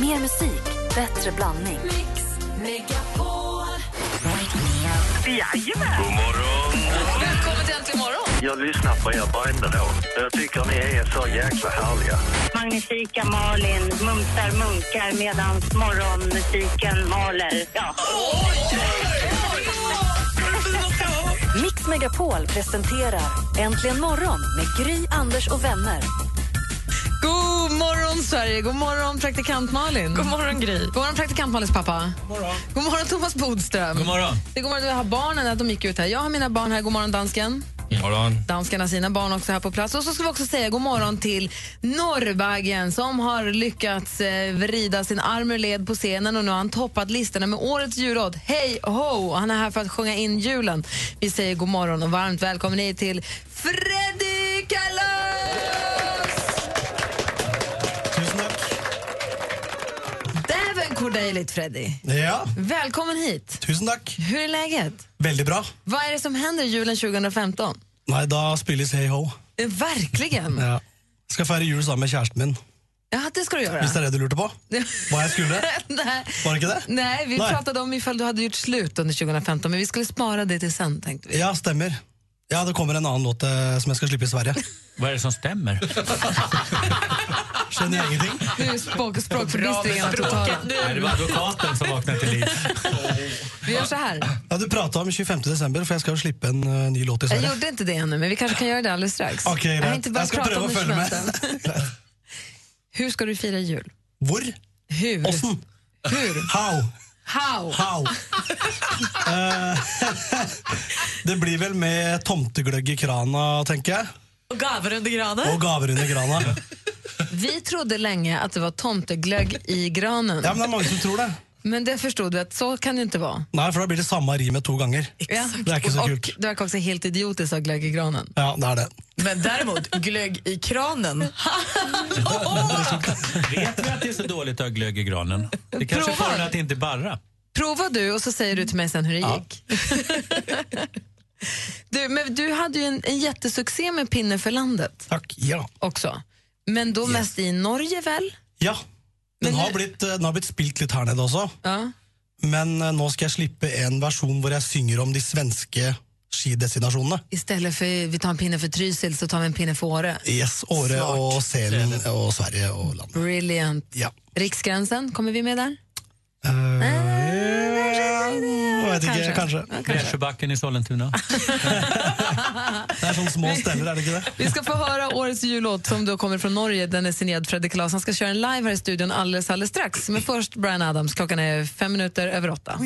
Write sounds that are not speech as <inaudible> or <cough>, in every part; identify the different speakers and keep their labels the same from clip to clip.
Speaker 1: Mer musik, bättre blandning.
Speaker 2: Mix Megapol.
Speaker 3: God morgon!
Speaker 2: Välkommen till Äntligen morgon.
Speaker 3: Jag lyssnar på er varenda dag. Jag tycker ni är så jäkla härliga.
Speaker 4: Magnifika Malin mumsar munkar medan morgonmusiken maler. Ja.
Speaker 1: Mix Megapol presenterar Äntligen morgon med Gry, Anders och vänner.
Speaker 5: God morgon, Sverige! God morgon, praktikant Malin. God morgon, Gry. God morgon, praktikant Malins pappa. God morgon, God morgon Thomas Bodström. God morgon. Det är god morgon, vi har barnen, att de gick ut här. Jag har mina barn här. God morgon, dansken.
Speaker 6: morgon.
Speaker 5: Danskarna har sina barn också här på plats. Och så ska vi också säga god morgon till Norrbaggen som har lyckats eh, vrida sin arm ur led på scenen och nu har han toppat listorna med årets jullåt Hej ho! Och Han är här för att sjunga in julen. Vi säger god morgon och varmt välkommen hit till Freddy Kalas!
Speaker 7: Tusen tack.
Speaker 5: Davenkordeligt, Freddy.
Speaker 7: Ja,
Speaker 5: Välkommen hit.
Speaker 7: tusen tack.
Speaker 5: Hur är läget?
Speaker 7: Väldigt bra.
Speaker 5: Vad är det som händer julen 2015?
Speaker 7: Nej, då spelas Hey Ho.
Speaker 5: Eh, Verkligen.
Speaker 7: Ja. Ska fira jul samman med kärsten min.
Speaker 5: Ja, det ska du göra. <laughs>
Speaker 7: Visst är det du lurte på? Vad jag skulle?
Speaker 5: Nej.
Speaker 7: Var det inte det?
Speaker 5: Nej, vi
Speaker 7: Nej.
Speaker 5: pratade om ifall du hade gjort slut under 2015, men vi skulle spara det till sen tänkte vi.
Speaker 7: Ja, stämmer. Ja, det kommer en annan låt eh, som jag ska slippa i Sverige.
Speaker 6: Vad är det som stämmer?
Speaker 7: Känner jag ingenting?
Speaker 5: Nu är språk, språkförbistringen totala.
Speaker 6: Är det var advokaten som vaknade till liv.
Speaker 5: Vi gör så här.
Speaker 7: Ja, du pratade om 25 december för jag ska ju slippa en eh, ny låt i
Speaker 5: Jag
Speaker 7: Sverige.
Speaker 5: gjorde inte det ännu, men vi kanske kan göra det alldeles strax.
Speaker 7: Okej,
Speaker 5: jag
Speaker 7: rätt.
Speaker 5: har inte börjat
Speaker 7: Jag ska
Speaker 5: prata
Speaker 7: pröva
Speaker 5: om
Speaker 7: att följa med.
Speaker 5: det Hur ska du fira jul?
Speaker 7: <laughs> Hvor?
Speaker 5: Hur?
Speaker 7: Åssen?
Speaker 5: Hur?
Speaker 7: <laughs> How?
Speaker 5: How?
Speaker 7: How? <laughs> Eh, <laughs> det blir väl med tomteglögg i krana, tänker jag.
Speaker 2: Och gaver under granen.
Speaker 7: Och gaver under grana.
Speaker 5: Vi trodde länge att det var tomteglögg i granen,
Speaker 7: Ja, men det är många som tror det.
Speaker 5: men det förstod vi att så kan det inte vara.
Speaker 7: Nej, för då blir det samma rimet två gånger. Det är inte så
Speaker 5: och
Speaker 7: kul.
Speaker 5: det verkar också helt idiotiskt att ha glögg i granen.
Speaker 7: Ja, det är det.
Speaker 2: Men däremot glögg i kranen.
Speaker 6: Vet vi att det är så dåligt att ha glögg i granen? Det kanske är
Speaker 5: Prova.
Speaker 6: fördel att inte barra.
Speaker 5: Prova du och så säger du till mig sen hur det gick. <laughs> du, men du hade ju en, en jättesuccé med Pinne för landet
Speaker 7: Tack. Ja.
Speaker 5: också. Men då mest i Norge väl?
Speaker 7: Ja. Den
Speaker 5: Men
Speaker 7: har,
Speaker 5: nu-
Speaker 7: blitt, eh, den har blitt spilt litt her nede også,
Speaker 5: Ja.
Speaker 7: men eh, nå skal jeg slippe en versjon hvor jeg synger om de svenske skidestinasjonene.
Speaker 5: Istället för vi tar en pinne för Trysil så tar vi en pinne för Åre.
Speaker 7: Yes, Åre
Speaker 5: Smart.
Speaker 7: og Selen og Sverige og land.
Speaker 5: Brilliant.
Speaker 7: Ja.
Speaker 5: Riksgränsen, kommer vi med där?
Speaker 7: Eh, jeg vet ikke, kanskje.
Speaker 6: Bräsjöbacken i Sollentuna.
Speaker 7: Det er sånne små steder, er det ikke det?
Speaker 5: Vi ska få höra årets jullåt som då kommer från Norge. Den är signerad Fredrik Claes. Han ska köra en live här i studion alldeles, alldeles strax. Men först Brian Adams. Klockan är fem minuter över åtta.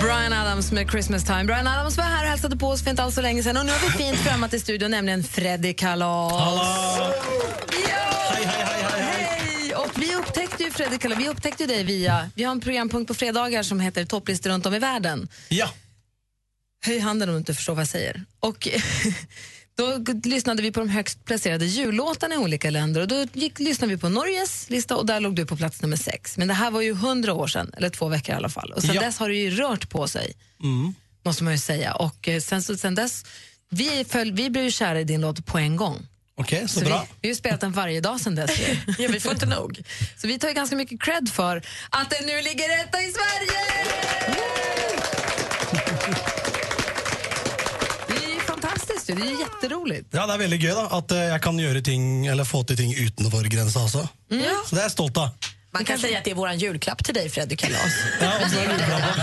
Speaker 5: Brian Adams med Christmas time. Brian Adams var här och hälsade på oss för inte alls så länge sedan. Och nu har vi fint främmat i studion, nämligen Freddy Kalas.
Speaker 7: Hei, hei, hei, hei, hei.
Speaker 5: Hej! Och vi upptäckte ju Fredrik Kalas, vi upptäckte ju dig via, vi har en programpunkt på fredagar som heter Topplistor runt om i världen.
Speaker 7: Ja.
Speaker 5: Höj handen om du inte förstår vad jag säger. Och <laughs> då g- lyssnade vi på de högst placerade jullåtarna i olika länder och då gick, lyssnade vi på Norges lista och där låg du på plats nummer sex. Men det här var ju hundra år sedan, eller två veckor i alla fall. Och sen
Speaker 7: Ja.
Speaker 5: dess har det ju rört på sig, måste man ju säga. Och eh, sen, så- sen dess, vi, föll, vi blev ju kära i din låt på en gång.
Speaker 7: Ok, så,
Speaker 5: Så vi, vi
Speaker 7: bra.
Speaker 5: har ju spelat den varje dag sen <laughs> dess. ju.
Speaker 2: Ja, vi får inte nog.
Speaker 5: Så vi tar ju ganska mycket cred för att den nu ligger etta i Sverige! Det är ju fantastiskt, ju. det är ju jätteroligt.
Speaker 7: Ja, det er veldig gøy da, at eh, jeg kan gjøre ting, eller få til ting utenfor grensa også.
Speaker 5: Mm.
Speaker 2: Ja.
Speaker 7: alltså. Så det er jeg stolt av.
Speaker 2: Man kan säga att det är våran julklapp till dig, Fredrik Kalas.
Speaker 7: Ja, og så er det juleknappen.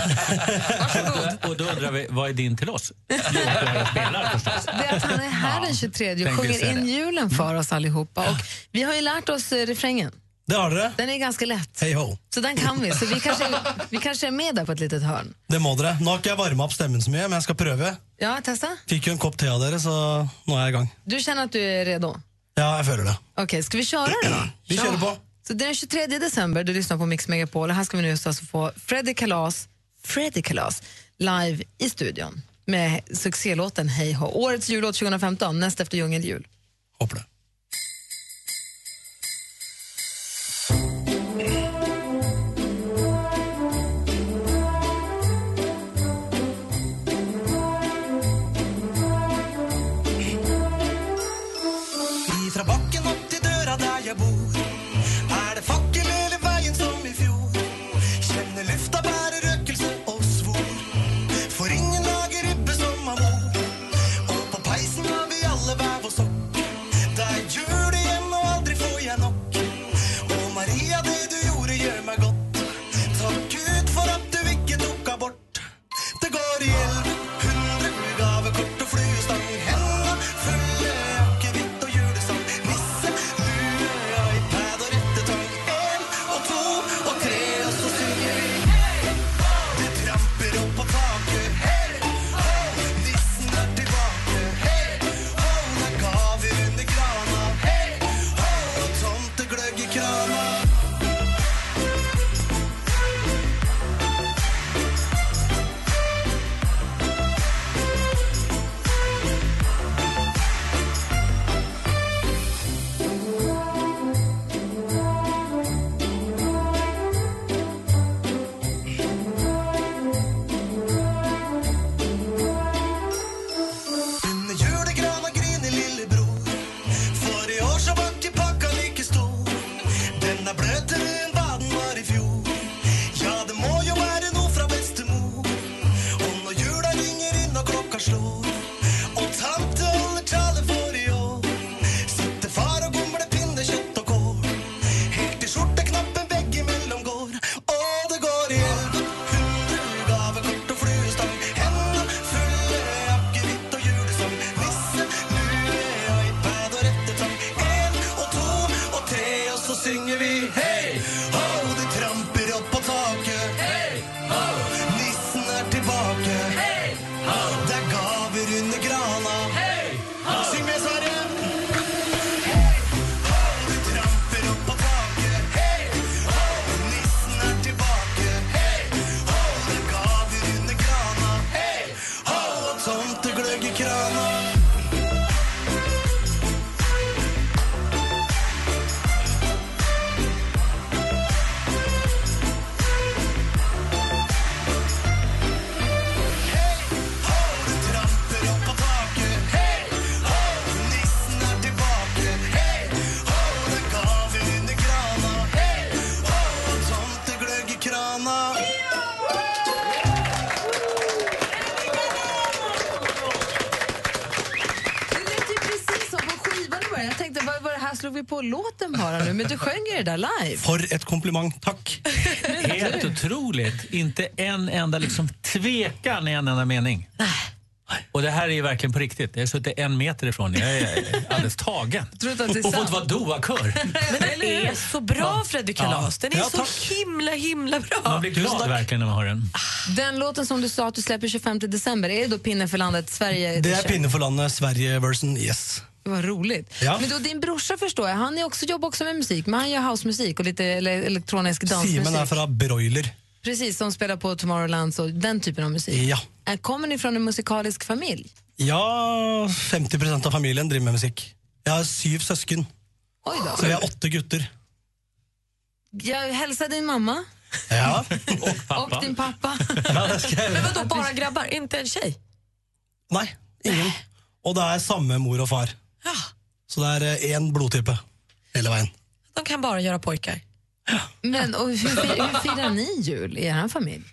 Speaker 6: Och då undrar vi, vad är din till oss? Jo, att du är och spelar förstås.
Speaker 5: Det är att han är här den 23 och
Speaker 6: tänker
Speaker 5: sjunger
Speaker 6: säga
Speaker 5: in
Speaker 6: det.
Speaker 5: julen för oss allihopa. Och vi har ju lärt oss eh, refrängen,
Speaker 7: Det har dere.
Speaker 5: den är ganska lätt.
Speaker 7: Hei ho.
Speaker 5: Så den kan vi, så vi kanske, vi kanske är med där på ett litet hörn.
Speaker 7: Det må dere. Nå har ikke jeg varma opp stemmen så mye, men jeg skal prøve.
Speaker 5: Ja, testa.
Speaker 7: Fikk jo en kopp te av dere, så nå er jeg i gang.
Speaker 5: Du känner att du är redo?
Speaker 7: Ja, jeg føler det.
Speaker 5: Okej, ska vi köra det då?
Speaker 7: Vi kjører på.
Speaker 5: Så det är den 23 december, du lyssnar på Mix Megapol och här ska vi nu just alltså få Freddy Kalas, Freddy Kalas live i studion med succélåten Hej Hå. Årets jullåt 2015, näst efter Djungel jul.
Speaker 7: Håper det.
Speaker 5: typ drog vi på låten bara nu, men du sjöng ju det där live.
Speaker 7: For et kompliment, tack.
Speaker 6: Helt otroligt. Inte en enda liksom tvekan i en enda mening. Och det här är ju verkligen på riktigt. Jag har suttit en meter ifrån. Jag är alldeles tagen.
Speaker 5: Tror du inte att det är
Speaker 6: Och fått
Speaker 5: sant?
Speaker 6: vara doakör.
Speaker 2: Men den är så bra, Freddy Kalas. Den är
Speaker 7: Ja, tack.
Speaker 2: så himla, himla
Speaker 6: Man
Speaker 2: bra.
Speaker 6: blir glad verkligen när man hör den.
Speaker 5: Den låten som du sa att du släpper 25 december, är det då Pinne för landet Sverige?
Speaker 7: Det är pinne för landet, Sverige version yes.
Speaker 5: Vad roligt.
Speaker 7: Ja.
Speaker 5: Men då, din brorsa förstår jag, han är också, jobbar också med musik, men han gör housemusik och lite ele- elektronisk dansmusik.
Speaker 7: Simen är fra Broiler.
Speaker 5: Precis, som spelar på Tomorrowlands och den typen av musik.
Speaker 7: Ja.
Speaker 5: Äh, Kommer ni från en musikalisk familj?
Speaker 7: Ja, 50 av familien driver med musikk. Jeg har syv søsken,
Speaker 5: Oj
Speaker 7: så
Speaker 5: då.
Speaker 7: vi er åtte gutter.
Speaker 5: Jag hälsar din mamma
Speaker 7: Ja.
Speaker 6: Och pappa.
Speaker 5: och din pappa. <laughs>
Speaker 2: Men vadå, bara grabbar? Inte en tjej?
Speaker 7: Nei, ingen. Og det er samme mor og far.
Speaker 2: Ja,
Speaker 7: Så det er eh, én blodtype hele veien.
Speaker 2: de kan bara göra pojkar.
Speaker 5: Men och hur, fi- hur firar ni jul i er familj?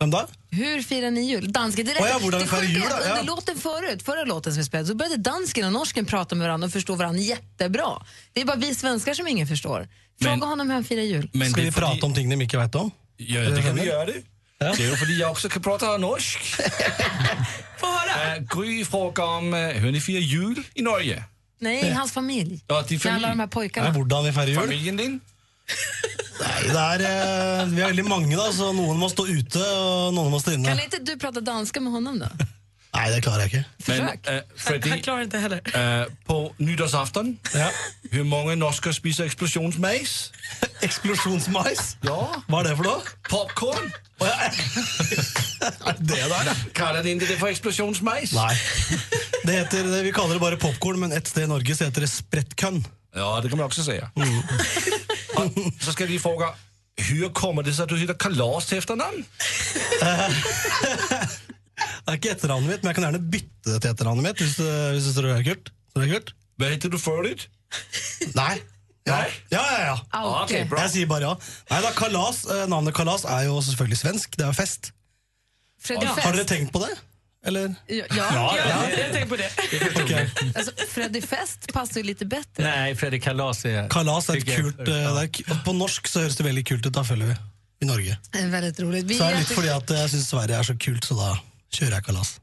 Speaker 7: Hvem da?
Speaker 5: Hur firar ni jul? Dansken, det
Speaker 7: Åh, ja, borde vi
Speaker 5: det
Speaker 7: fira
Speaker 5: sjuka
Speaker 7: jul då?
Speaker 5: är att
Speaker 7: Ja.
Speaker 5: Under låten förut, förra låten som vi spelade så började dansken och norsken prata med varandra och förstå varandra jättebra. Det är bara vi svenskar som ingen förstår. Fråga
Speaker 8: Men-
Speaker 5: honom hur han firar jul.
Speaker 8: Men
Speaker 7: Skal vi prate om ting de ikke veit om?
Speaker 8: Ja, Eh, det kan vi göra det. Det är ju för att jag också kan prata norsk.
Speaker 2: Få höra.
Speaker 8: Äh, Gry frågar om eh, hur ni firar jul i Norge.
Speaker 5: Nej, hans familj.
Speaker 8: Ja, din
Speaker 5: Med alla de
Speaker 8: familj.
Speaker 5: här
Speaker 7: Ja,
Speaker 5: pojkarna.
Speaker 7: hvordan vi feirer jul?
Speaker 8: Familjen din?
Speaker 7: Nei, det er, eh, vi er veldig mange, da, så noen må stå ute, og noen må stå inne.
Speaker 5: Kan inte du prata danska med honom då?
Speaker 7: Nei, det klarer jeg ikke. <laughs>
Speaker 8: Men,
Speaker 5: Försök.
Speaker 8: äh,
Speaker 2: Han
Speaker 8: Freddy,
Speaker 2: klarar inte heller.
Speaker 8: äh, på nyårsafton, hur många norskar spiser explosionsmajs?
Speaker 7: Eksplosjonsmais?
Speaker 8: Ja.
Speaker 7: Hva er det for noe?
Speaker 8: Popcorn? <laughs>
Speaker 7: Å, ja. Det der?
Speaker 8: Kallar ni inte det för explosionsmajs?
Speaker 7: Nei. <laughs> Det heter, det- vi kaller det bare popkorn, men et sted i Norge så heter det sprettkønn.
Speaker 8: Ja, det kan man också säga. Och så ska vi fråga, hur kommer det sig att du heter Kalas till efternamn?
Speaker 7: Det er ikke etternavnet mitt, men jeg kan gjerne bytte det til etternavnet mitt. hvis, det- hvis du tror det er kult. Tror du det er kult?
Speaker 8: Vad heter du förut?
Speaker 7: Nei. Ja,
Speaker 8: Nei?
Speaker 7: ja, ja. ja.
Speaker 5: Auke.
Speaker 8: okej, bra.
Speaker 7: Jeg sier bare ja. Nei, da, kalas, eh, Navnet Kalas er jo selvfølgelig svensk. Det er jo fest.
Speaker 5: Freddy
Speaker 7: Har dere
Speaker 5: Fest.
Speaker 7: tenkt på det? Eller?
Speaker 5: Ja, ja.
Speaker 2: Jag tänker på det.
Speaker 7: Ok.
Speaker 5: Alltså, Freddy Fest passar ju lite bättre.
Speaker 6: Nej, Fredrik Kalas är...
Speaker 7: Kalas er et
Speaker 6: Tycker jag.
Speaker 7: kult eh, det er, ku- På norsk så høres det veldig kult ut, da følger vi. I Norge.
Speaker 5: Det är väldigt roligt. Vi
Speaker 7: Så
Speaker 5: är,
Speaker 7: er det litt
Speaker 5: jätte...
Speaker 7: fordi at jeg syns Sverige er så kult, så da kjører jeg kalas.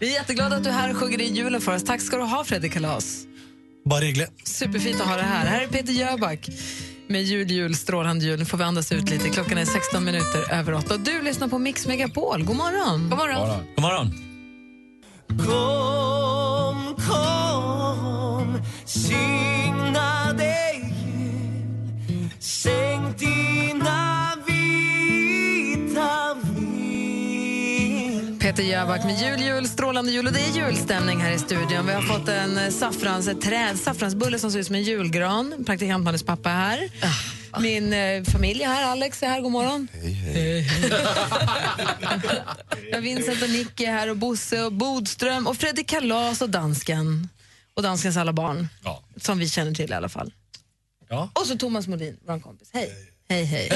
Speaker 5: vi är jätteglada att du är här och sjunger i julen för oss. Tack ska du ha, Freddy Kalas.
Speaker 7: Bare hyggelig.
Speaker 5: Superfint att ha det här. Här är Peter Jöback med jul, jul, strålande jul. Nu får vi andas ut lite. Klockan är 16 minuter över 8. Och du lyssnar på Mix Megapol. God morgon. God morgon.
Speaker 6: God morgon.
Speaker 5: Peter Jöback med jul, jul, strålande jul. Och det är julstämning här i studion. Vi har fått en eh, saffrans, ett träd, saffransbulle som ser ut som en julgran. Praktikant Malins pappa är här. Min eh, familj är här. Alex är här. God morgon. Hej, <laughs> hej. Vincent och Nicky är här och Bosse och Bodström och Fredrik Kalas och dansken. Och danskens alla barn.
Speaker 8: Ja.
Speaker 5: Som vi känner till i alla fall.
Speaker 8: Ja.
Speaker 5: Och så Thomas Molin, vår kompis. Hej. Hej, hej.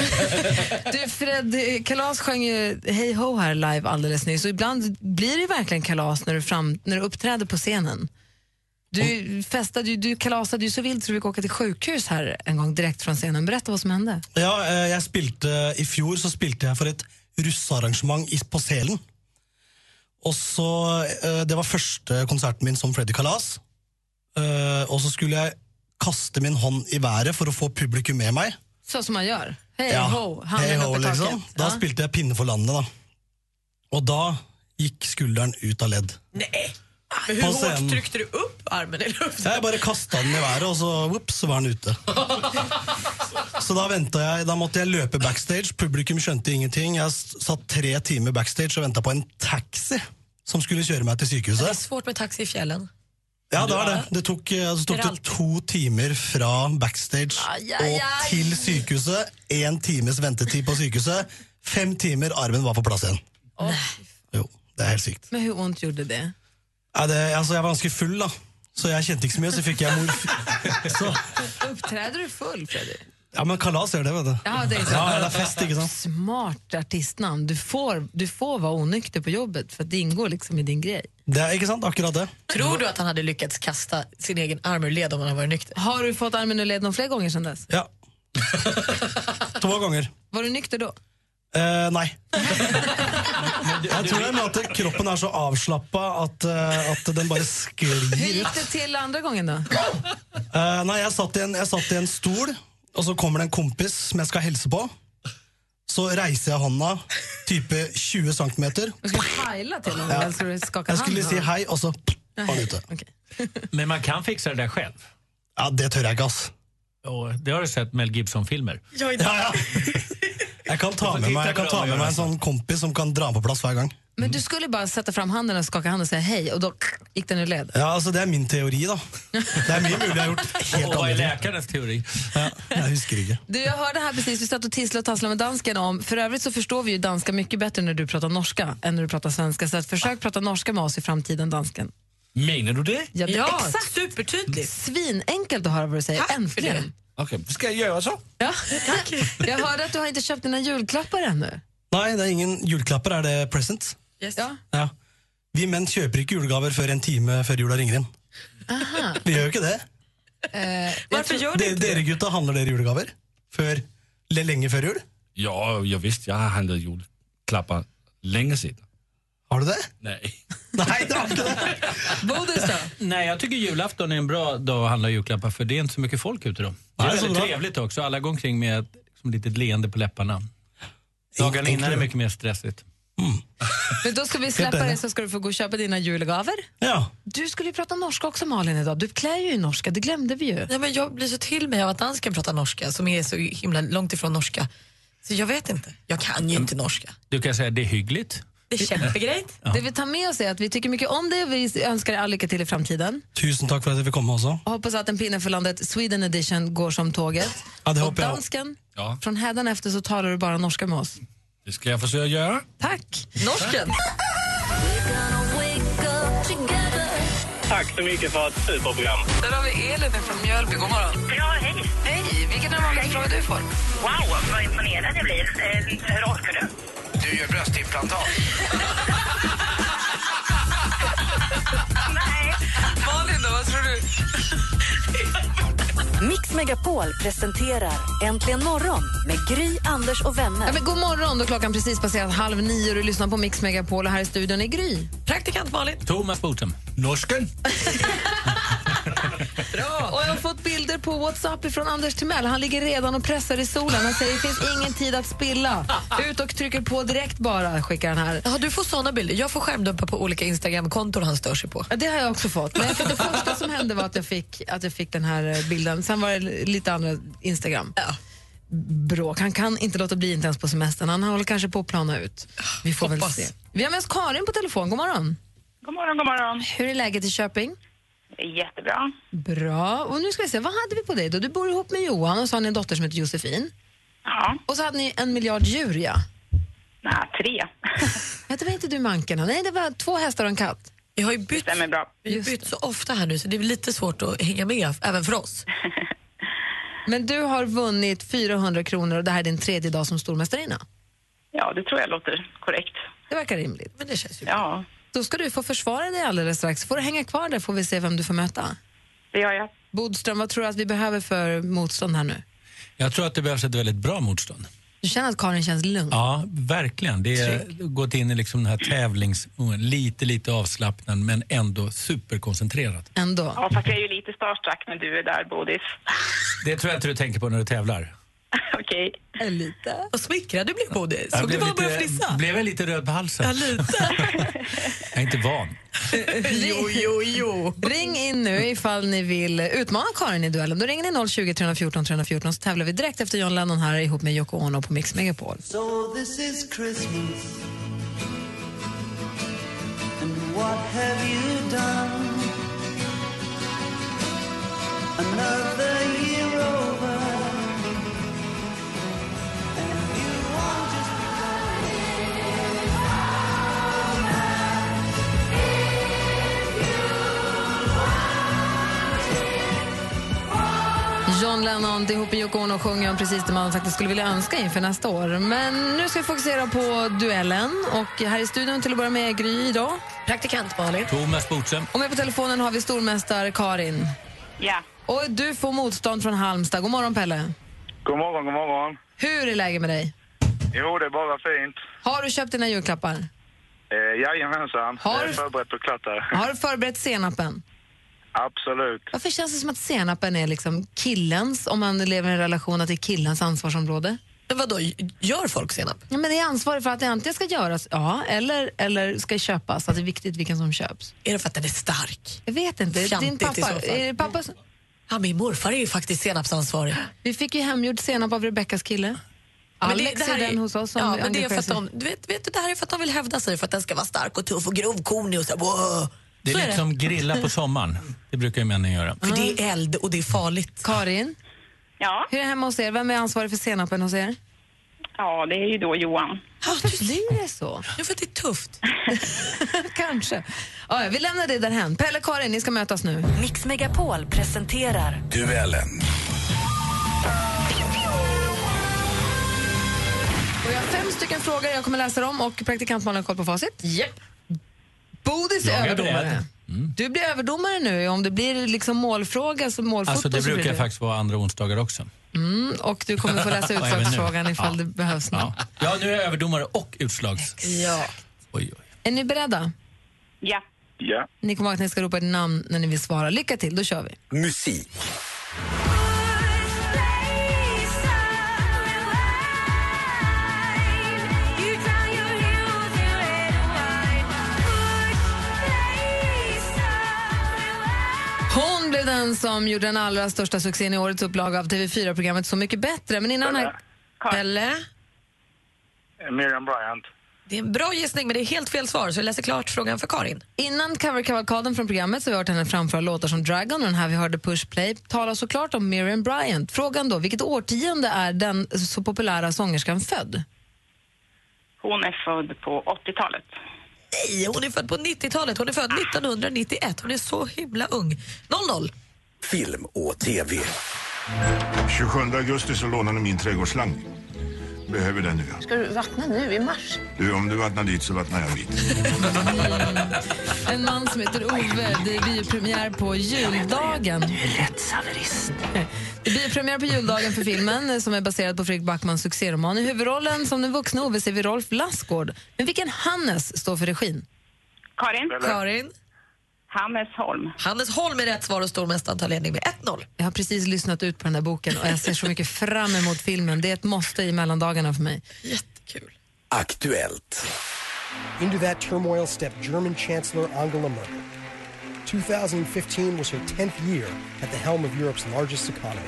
Speaker 5: Du, Fred, eh, Kalas sjöng ju Hej Ho här live alldeles nyss och ibland blir det ju verkligen kalas när du, fram, när du uppträder på scenen. Du, festade, ju- du kalasade ju så vilt så du fick åka till sjukhus här en gång direkt från scenen. Berätta vad som hände.
Speaker 7: Ja, eh, jeg spilte I fjor så spilte jeg for et russearrangement i- på Selen. Og så, eh, Det var første konserten min som Freddy Kalas. Eh, Och så skulle jeg kaste min hånd i været for å få publikum med meg.
Speaker 5: Så som man gör. Hej
Speaker 7: Ja,
Speaker 5: Ho,
Speaker 7: hej
Speaker 5: handen
Speaker 7: ho,
Speaker 5: upp i taket.
Speaker 7: liksom. Da
Speaker 5: Ja.
Speaker 7: spilte jeg Pinne for landet, da. Og da gikk skulderen ut av ledd.
Speaker 2: Nej.
Speaker 5: Ah,
Speaker 2: Men hur
Speaker 7: På scen.
Speaker 2: hårt tryckte du upp armen i luften?
Speaker 7: Jag bare kasta den i været, og så, whoops, så var den ute. Så da venta jeg, da måtte jeg løpe backstage. Publikum skjønte ingenting. Jeg s- satt tre timer backstage og venta på en taxi som skulle kjøre meg til
Speaker 2: Det är
Speaker 7: sykehuset.
Speaker 2: svårt med taxi i fjällen.
Speaker 7: Ja, det var det. Det tok, eh, så tok det to timer fra backstage
Speaker 5: Ai, ai,
Speaker 7: og
Speaker 5: ai.
Speaker 7: til sykehuset. Én times ventetid på sykehuset. Fem timer, armen var på plass igjen. Jo, det er helt sykt.
Speaker 5: Men hur ont gjorde det?
Speaker 7: Ja, det, altså, jeg var ganske full, da. Så jeg kjente ikke så mye, så fikk jeg morfin.
Speaker 5: Uppträder du full, Fredrik?
Speaker 7: Ja, men kalas er det, vet du.
Speaker 5: Ja, det är så.
Speaker 7: Ja, det er fest, ikke sant?
Speaker 5: Smart artistnamn. Du får, du får vara onykter på jobbet för att det ingår liksom i din grej.
Speaker 7: Det er, ikke sant? Akkurat det.
Speaker 2: Tror du att han hade lyckats kasta sin egen arm ur led om han hade varit nykter?
Speaker 5: Har du fått armen ur led någon fler gånger sedan dess?
Speaker 7: Ja. to ganger.
Speaker 5: Var du nykter då?
Speaker 7: Eh, nei. Jeg tror det er med at kroppen er så avslappa at, eh, at den bare
Speaker 5: Hur
Speaker 7: sklir ut.
Speaker 5: gick det till andra gången då?
Speaker 7: Eh, nei, jeg satt, i en, jeg satt i en stol, og så kommer det en kompis som jeg skal hilse på. Så reiser jag hånda type 20 cm.
Speaker 5: Du skulle heila till honom, eller skulle du skaka
Speaker 7: Jeg
Speaker 5: hand?
Speaker 7: skulle si
Speaker 5: med honom?
Speaker 7: hei, og så var han ute.
Speaker 5: Okej.
Speaker 6: Men man kan fixa det där själv.
Speaker 7: Ja, det tør jeg ikke, ass.
Speaker 6: Och det har du sett Mel Gibson-filmer.
Speaker 2: Jag inte.
Speaker 7: Ja, ja. <laughs> Jeg kan ta med meg, jeg kan ta med meg en sånn kompis som kan dra på plass hver gang.
Speaker 5: Men du skulle bara sätta fram handen och skaka hand och säga hej och då gick den ur led.
Speaker 7: Ja, altså Det er min teori, da. Det er mye mulig jeg har gjort helt
Speaker 6: Och vad är
Speaker 7: annerledes.
Speaker 6: läkarens teori?
Speaker 7: Ja, jeg husker ikke.
Speaker 5: Du, jag hörde här precis, vi satt och tisslade och tasslade med dansken om, för övrigt så förstår vi ju danska mycket bättre när du pratar norska än när du pratar svenska, så att försök prata norska med oss i framtiden, dansken.
Speaker 8: Menar du det?
Speaker 5: Ja, det
Speaker 2: Ja,
Speaker 5: exakt.
Speaker 2: supertydligt.
Speaker 5: Svinenkelt att höra vad du säger.
Speaker 2: Tack för
Speaker 5: Äntligen.
Speaker 8: Okej, ska jag göra så?
Speaker 5: Ja. Jag hörde att du har inte köpt dina julklappar ännu.
Speaker 7: Nei, det er ingen julklapper. Er det presents?
Speaker 2: Yes.
Speaker 5: Ja.
Speaker 7: Ja. Vi menn kjøper ikke julegaver før en time før jula ringer inn. Vi gjør jo ikke det.
Speaker 2: Varför gör du
Speaker 7: De,
Speaker 2: inte det?
Speaker 7: dere gutta, handler dere julegaver før, le- lenge før jul?
Speaker 8: Ja, jag visst, jag har handlat julklappar länge sedan.
Speaker 7: Har du det?
Speaker 8: Nej.
Speaker 7: Nei, du har ikke det.
Speaker 5: Bodis då?
Speaker 6: Nej, jag tycker julafton är en bra dag att handla julklappar för det är inte så mycket folk ute då. Det är
Speaker 7: Nej, så
Speaker 6: väldigt
Speaker 7: bra.
Speaker 6: trevligt också. Alla går omkring med ett liksom, litet leende på läpparna. Dagarna innan är det mycket mer stressigt.
Speaker 5: Men då ska vi släppa
Speaker 7: Helt enig.
Speaker 5: det så ska du få gå och köpa dina julgaver.
Speaker 7: Ja.
Speaker 5: Du skulle ju prata norska också Malin idag. Du klär ju i norska, det glömde vi ju.
Speaker 2: Nej, men jag blir så till mig av att dansken pratar norska som är så himla långt ifrån norska. Så jag vet inte. Jag kan ju inte norska.
Speaker 6: Du kan säga det är hyggligt.
Speaker 2: Det är kämpegrejt.
Speaker 5: Det vi tar med oss är att vi tycker mycket om dig och vi önskar er all lycka till i framtiden.
Speaker 7: Tusen takk for at jeg fikk komme også.
Speaker 5: Och hoppas att en pinne för landet Sweden edition går som tåget.
Speaker 7: Ja, det
Speaker 5: och
Speaker 7: håper jeg også.
Speaker 5: dansken,
Speaker 8: Ja.
Speaker 5: från hädan efter så talar du bara norska med oss.
Speaker 8: Det ska jag försöka göra.
Speaker 5: Tack!
Speaker 2: Norsken.
Speaker 3: Tack så mycket för ett superprogram.
Speaker 9: Där har vi Elin från Mjölby. God morgon.
Speaker 4: Ja, hej.
Speaker 9: Hej, vilken ögonfråga du får.
Speaker 4: Wow, vad imponerad jag blir. Eh, hur orkar du?
Speaker 3: Du gör bröstimplantat.
Speaker 4: Nej.
Speaker 9: Malin då, vad tror du?
Speaker 1: Mix Megapol presenterar Äntligen morgon med Gry, Anders och vänner.
Speaker 5: Ja, men god morgon, då klockan precis passerat halv nio och du lyssnar på Mix Megapol och här i studion är Gry.
Speaker 2: Praktikant Malin.
Speaker 6: Thomas Bodström.
Speaker 8: Norsken?
Speaker 5: Och jag har fått bilder på Whatsapp ifrån Anders Timell. Han ligger redan och pressar i solen. Han säger det finns ingen tid att spilla. Ut och trycker på direkt bara, skickar han här.
Speaker 2: Ja, du får såna bilder. Jag får skärmdumpa på olika Instagramkonton han stör sig på.
Speaker 5: Ja, Det har jag också fått. Men jag fick det första som hände var att jag fick, att jag fick den här eh, bilden. Sen var det lite andra Instagram.
Speaker 2: Ja.
Speaker 5: Bråk. Han kan inte låta bli, inte ens på semestern. Han håller kanske på att plana ut. Vi får
Speaker 2: Hoppas.
Speaker 5: väl se. Vi har med oss Karin på telefon. God morgon.
Speaker 4: God morgon, god morgon.
Speaker 5: Hur är läget i Köping?
Speaker 4: Jättebra.
Speaker 5: Bra. Och nu ska vi se, vad hade vi på dig då? Du bor ihop med Johan och så har ni en dotter som heter Josefin.
Speaker 4: Ja,
Speaker 5: Och så hade ni en miljard djur, ja.
Speaker 4: nej, tre. <laughs>
Speaker 5: Nej, det var inte du mankarna. Nej, det var två hästar och en katt.
Speaker 2: Vi har ju bytt,
Speaker 4: Stämmer bra.
Speaker 2: vi har ju bytt så ofta här nu så det är väl lite svårt att hänga med även för oss.
Speaker 5: Men du har vunnit 400 kronor och det här är din tredje dag som stormästarinna.
Speaker 4: Ja, det tror jag låter korrekt.
Speaker 5: Det verkar rimligt.
Speaker 2: Men det känns ju bra.
Speaker 4: Ja,
Speaker 5: Då ska du få försvara dig alldeles strax. Får du hänga kvar där får vi se vem du får möta.
Speaker 4: det gör jag.
Speaker 5: Bodström, vad tror du att vi behöver för motstånd här nu?
Speaker 6: Jag tror att det behövs ett väldigt bra motstånd.
Speaker 5: Du känner att Karin känns lugn?
Speaker 6: Ja, verkligen. Det är gått in i liksom den här tävlings... oh, Lite, lite avslappnad men ändå superkoncentrerad.
Speaker 5: Ändå.
Speaker 4: Ja, fast jag är ju lite starstruck när du är där, Bodis. <laughs>
Speaker 6: Det tror jag inte du tänker på när du tävlar.
Speaker 4: Okej.
Speaker 5: Lite.
Speaker 2: Vad smickrad du blev Bodil.
Speaker 6: Jag
Speaker 2: Såg du
Speaker 6: blev
Speaker 2: bara lite... började
Speaker 6: lite-
Speaker 2: flissa?
Speaker 6: Blev jag lite röd på halsen?
Speaker 2: Ja, lite.
Speaker 6: <laughs> Jag är inte van.
Speaker 2: jo, jo, jo.
Speaker 5: Ring in nu ifall ni vill utmana Karin i duellen. Då ringer ni 020 314 314 så tävlar vi direkt efter John Lennon här ihop med Yoko Ono på Mix Megapol.
Speaker 10: So Oh, this is Christmas. And what have you done? Another year over. And you are just
Speaker 5: John Lennon ihop med Yoko Ono sjunger om precis det man faktiskt skulle vilja önska inför nästa år. Men nu ska vi fokusera på duellen. Och här i studion till att börja med är Gry idag.
Speaker 2: Praktikant Malin.
Speaker 6: Thomas Bodström.
Speaker 5: Och med på telefonen har vi stormästare Karin.
Speaker 4: Ja.
Speaker 5: Och du får motstånd från Halmstad. God morgon Pelle.
Speaker 3: God morgon, god morgon.
Speaker 5: Hur är läget med dig?
Speaker 3: Jo, det är bara fint.
Speaker 5: Har du köpt dina julklappar?
Speaker 3: Eh, jajamensan.
Speaker 5: Har
Speaker 3: Jag är
Speaker 5: du-
Speaker 3: förberett och klart där.
Speaker 5: Har du förberett senapen?
Speaker 3: Absolut.
Speaker 5: Varför känns det som att senapen är liksom killens, om man lever i en relation, att det är killens ansvarsområde?
Speaker 2: Men vadå, gör folk senap?
Speaker 5: Ja, men det är ansvarig för att det antingen ska göras, ja, eller, eller ska köpas, att det är viktigt vilken som köps.
Speaker 2: Är det för att den är stark?
Speaker 5: Jag vet inte, din
Speaker 2: Fjantigt i så
Speaker 5: pappa,
Speaker 2: fall.
Speaker 5: är det pappa som,
Speaker 2: Ja, min morfar är ju faktiskt senapsansvarig.
Speaker 5: Vi fick ju hemgjord senap av Rebeckas kille.
Speaker 2: Men
Speaker 5: Alex
Speaker 2: här
Speaker 5: är den hos oss som
Speaker 2: ja, men det, är
Speaker 5: engagerar
Speaker 2: för att
Speaker 5: sig.
Speaker 2: de, du vet, vet du, det här är för att de vill hävda sig, för att den ska vara stark och tuff och grovkornig och så här, wow.
Speaker 6: Det
Speaker 2: så
Speaker 6: är
Speaker 2: är Mm.
Speaker 6: lite som grilla på sommaren. Det brukar ju männen göra.
Speaker 2: det. För det är eld och det är farligt.
Speaker 5: Karin,
Speaker 4: Ja.
Speaker 5: hur är det hemma hos er? Vem är ansvarig för senapen hos er?
Speaker 4: ja, det är ju då Johan.
Speaker 5: Varför blir det så? <laughs>
Speaker 2: Ja, för att det är tufft.
Speaker 5: Kanske. Ja, ja, vi lämnar det därhän. Pelle och Karin, ni ska mötas nu.
Speaker 1: Mix Megapol presenterar
Speaker 5: Och jag har fem stycken frågor jag kommer läsa dem och praktikant Malin har koll på facit.
Speaker 2: Japp.
Speaker 5: Bodis
Speaker 6: Jag
Speaker 5: är
Speaker 6: är
Speaker 5: överdomare.
Speaker 6: beredd. Mm.
Speaker 5: Du blir överdomare nu. Om det blir liksom målfråga så målfoto
Speaker 6: Alltså det
Speaker 5: så blir
Speaker 6: brukar
Speaker 5: du.
Speaker 6: faktiskt vara andra onsdagar också.
Speaker 5: Och du kommer få
Speaker 6: <laughs>
Speaker 5: läsa
Speaker 6: även nu.
Speaker 5: utslagsfrågan ifall det
Speaker 6: Ja.
Speaker 5: behövs.
Speaker 6: Ja, ja nu är jag överdomare och utslags...
Speaker 2: Ja.
Speaker 6: Oj, oj.
Speaker 5: Är ni beredda?
Speaker 4: Ja.
Speaker 3: Ja.
Speaker 5: Ni kommer ihåg att ni ska ropa ett namn när ni vill svara. Lycka till, då kör vi.
Speaker 11: Musik.
Speaker 5: Hon blev den som gjorde den allra största succén i årets upplaga av TV4-programmet Så mycket bättre. Men innan här...
Speaker 2: Pelle?
Speaker 3: Miriam Bryant.
Speaker 2: Det är en bra gissning, men det är helt fel svar, så vi läser klart frågan för Karin.
Speaker 5: Innan coverkavalkaden från programmet så har vi hört henne framföra låtar som Dragon och den här vi hörde Push Play talar såklart om Miriam Bryant. Frågan då, vilket årtionde är den så populära sångerskan född?
Speaker 4: Hon är född på 80-talet.
Speaker 2: Nej, hon är född på 90-talet. Hon är född 1991. Hon är så himla ung. 00.
Speaker 11: Film och tv.
Speaker 3: 27 augusti så lånade min trädgårdsslang. Behöver den nu.
Speaker 9: Ska du vattna nu i mars?
Speaker 3: Du, om du vattnar dit så vattnar jag dit.
Speaker 5: En man som heter Ove. Det blir premiär på juldagen. Det blir premiär på juldagen för filmen eh, som är baserad på Fredrik Backmans succéroman. I huvudrollen som den vuxne Ove ser vi Rolf Lassgård. Men vilken Hannes står för regin?
Speaker 4: Karin?
Speaker 2: Karin.
Speaker 4: Hannes Holm.
Speaker 2: Hannes Holm är rätt svar och stormästaren tar ledning med 1-0.
Speaker 5: Jag har precis lyssnat ut på den där boken och jag ser så mycket fram emot filmen. Det är ett måste i mellandagarna för mig.
Speaker 2: Jättekul.
Speaker 11: Aktuellt.
Speaker 10: Into that turmoil stepped German Chancellor Angela Merkel. 2015 was her 10th year at the helm of Europe's largest economy.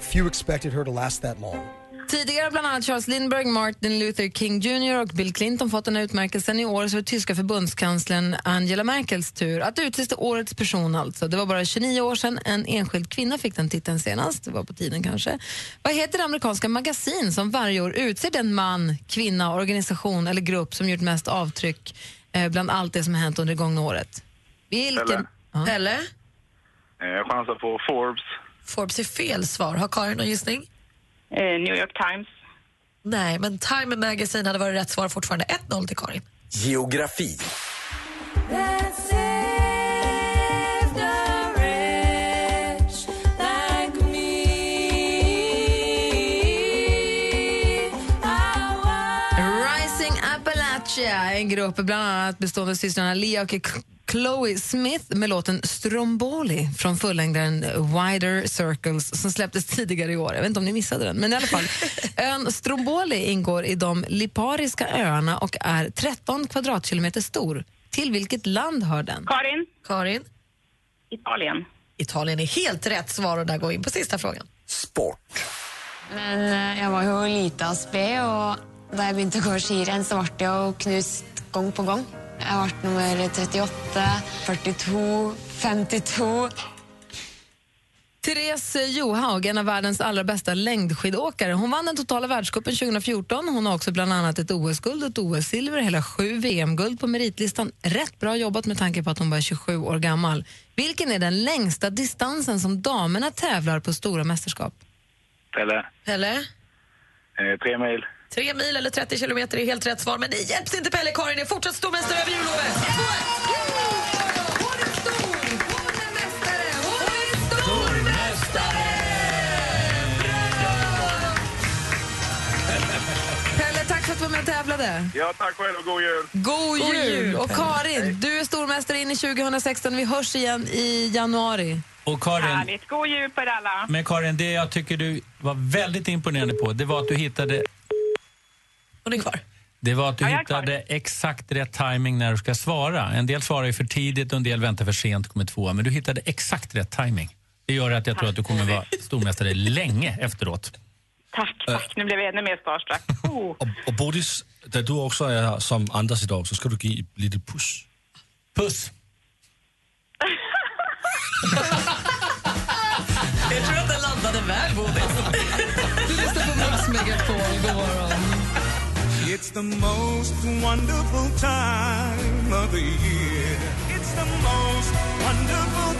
Speaker 10: Few expected her to last that long.
Speaker 5: Tidigare har bland annat Charles Lindbergh, Martin Luther King Jr och Bill Clinton fått den här utmärkelsen. I år så är det tyska förbundskanslern Angela Merkels tur att utses till årets person. alltså. Det var bara 29 år sedan en enskild kvinna fick den titeln senast. Det var på tiden kanske. Vad heter det amerikanska magasin som varje år utser den man, kvinna, organisation eller grupp som gjort mest avtryck eh, bland allt det som har hänt under det gångna året? Vilken?
Speaker 3: Pelle.
Speaker 5: Ja.
Speaker 2: Pelle.
Speaker 3: Eh, chansar på Forbes.
Speaker 2: Forbes är fel svar. Har Karin någon gissning?
Speaker 4: Eh, New York Times.
Speaker 2: Nej, men Time Magazine hade varit rätt svar fortfarande. 1-0 till Karin.
Speaker 11: Geografi.
Speaker 5: Rising Appalachia, en grupp bland annat bestående av systrarna Lea och K- Chloe Smith med låten Stromboli från fullängdaren Wider Circles som släpptes tidigare i år. Jag vet inte om ni missade den, men i
Speaker 2: <laughs>
Speaker 5: alla fall. Ön Stromboli ingår i de Lipariska öarna och är 13 kvadratkilometer stor. Till vilket land hör den?
Speaker 4: Karin?
Speaker 2: Karin.
Speaker 4: Italien.
Speaker 2: Italien är helt rätt svar och där går vi in på sista frågan.
Speaker 11: Sport.
Speaker 9: Men eh, jag var jo lita og sped, og da jeg begynte å gå skirenn, så ble jeg jo knust gang på gang. Jeg ble nummer 38, 42, 52
Speaker 5: Till Therese Johaug, en av världens allra bästa längdskidåkare. Hon vann den totala världscupen 2014. Hon har också bland annat ett OS-guld och ett OS-silver, hela sju VM-guld på meritlistan. Rätt bra jobbat med tanke på att hon bara är 27 år gammal. Vilken är den längsta distansen som damerna tävlar på stora mästerskap?
Speaker 12: Pelle,
Speaker 2: Pelle?
Speaker 12: eh, tre mil.
Speaker 2: Tre mil eller 30 kilometer är helt rätt svar, men det hjälps inte Pelle Karin är fortsatt stormästare över jullovet.
Speaker 5: Pelle, tack för att du var med och tävlade.
Speaker 12: Ja, tack själv och god jul.
Speaker 5: God,
Speaker 12: God
Speaker 5: jul.
Speaker 12: jul,
Speaker 5: Och
Speaker 12: Pelle.
Speaker 5: Karin, du är stormästare in i 2016. Vi hörs igen i januari.
Speaker 6: Och Karin,
Speaker 13: Härligt. God jul på er alla.
Speaker 6: men Karin, det jag tycker du var väldigt imponerande på, det var att du hittade...
Speaker 2: Hon är kvar.
Speaker 6: Det var att du
Speaker 13: Ja, jag är kvar.
Speaker 6: hittade exakt rätt timing när du ska svara. En del svarar ju för tidigt och en del väntar för sent, kommer tvåa. Men du hittade exakt rätt timing. Det gör att jag tror att du kommer vara stormästare länge efteråt.
Speaker 13: Tack, tack. Nu blev jag ännu mer starstruck. Oh.
Speaker 8: Och Bodis, da du också är här som Anders idag så ska du ge ett litet puss.
Speaker 6: Puss!
Speaker 2: Jag tror att den landade väl, Bodis.
Speaker 5: Du lyssnar på Mix Megapol. God morgon.
Speaker 14: It's the most wonderful time of the year. It's the most wonderful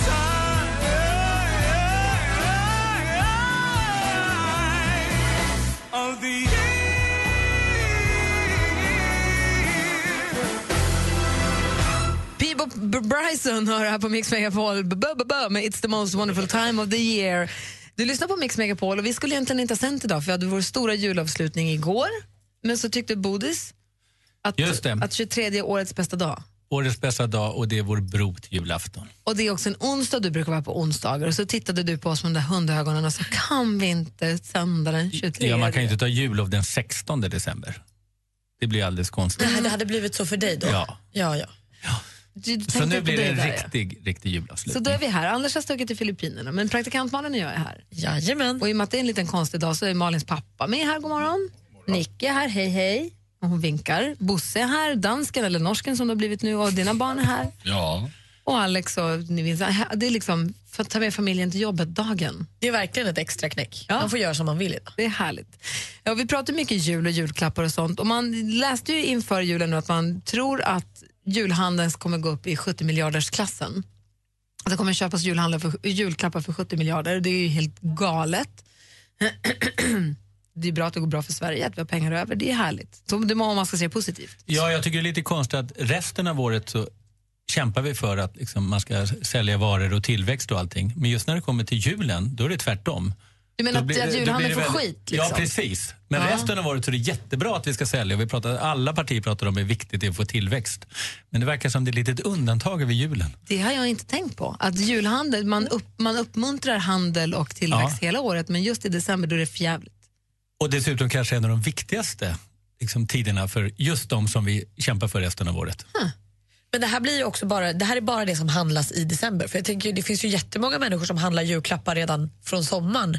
Speaker 14: time of the
Speaker 5: Peebo B- Bryson hör här på Mix Megapol B- b- b- med It's the most wonderful time of the year. Du lyssnar på Mix Megapol och vi skulle egentligen inte ha sänt idag för vi hade vår stora julavslutning igår. Men så tyckte Bodis att,
Speaker 6: Just det.
Speaker 5: att 23 är årets bästa dag.
Speaker 6: Årets bästa dag och det är vår bro till julafton.
Speaker 5: Och det är också en onsdag, du brukar vara på onsdagar. Och så tittade du på oss med de där hundögonen och sa kan vi inte sända den 23?
Speaker 6: Ja, man kan ju inte ta jullov den 16 december. Det blir alldeles konstigt.
Speaker 2: Nej, det hade blivit så för dig då.
Speaker 6: Ja.
Speaker 2: ja, ja.
Speaker 5: Du, du
Speaker 6: Så
Speaker 5: tänkte
Speaker 6: nu
Speaker 5: på
Speaker 6: blir det
Speaker 5: dig
Speaker 6: en
Speaker 5: där, ja.
Speaker 6: riktig, riktig
Speaker 5: Så
Speaker 6: julavslutning.
Speaker 5: då är vi här. Anders har stuckit till Filippinerna, men praktikant Malin och jag är här.
Speaker 2: Jajamän.
Speaker 5: Och i och med att det är en liten konstig dag så är Malins pappa med här. God morgon. Nicke är här, hej hej. Och hon vinkar. Bosse är här, dansken eller norsken som det har blivit nu och dina barn är här.
Speaker 8: Ja.
Speaker 5: Och Alex och ni vet, det är liksom för att ta med familjen till jobbet-dagen.
Speaker 2: Det är verkligen ett extra knäck. Man får göra som man vill idag.
Speaker 5: Det är härligt. Ja, vi pratar mycket jul och julklappar och sånt. Och man läste ju inför julen nu att man tror att julhandeln kommer gå upp i 70 miljardersklassen. Att det kommer köpas julhandlar för, julklappar för 70 miljarder. Det är ju helt galet. <clears throat> det är bra att det går bra för Sverige, att vi har pengar över. Det är härligt. Så det må om man ska se det positivt.
Speaker 6: Ja, jag tycker det är lite konstigt att resten av året så kämpar vi för att liksom man ska sälja varor och tillväxt och allting. Men just när det kommer till julen, då är det tvärtom.
Speaker 5: Du menar
Speaker 6: Då
Speaker 5: att-
Speaker 6: blir
Speaker 5: att
Speaker 6: det- då
Speaker 5: julhandeln
Speaker 6: blir det
Speaker 5: får
Speaker 6: väldigt-
Speaker 5: skit, liksom?
Speaker 6: Ja, precis. Men
Speaker 5: Ja.
Speaker 6: resten av året så är det jättebra att vi ska sälja. Och vi pratar, alla partier pratar om hur viktigt det är att få tillväxt. Men det verkar som det är ett litet undantag över julen.
Speaker 5: Det har jag inte tänkt på. Att julhandel, man, upp, man uppmuntrar handel och tillväxt hela året men just i december då är det för jävligt.
Speaker 6: Och dessutom kanske en av de viktigaste liksom, tiderna för just de som vi kämpar för resten av året.
Speaker 2: Hm. Men det här, blir ju också bara, det här är bara det som handlas i december. För jag tänker, Det finns ju jättemånga människor som handlar julklappar redan från sommaren.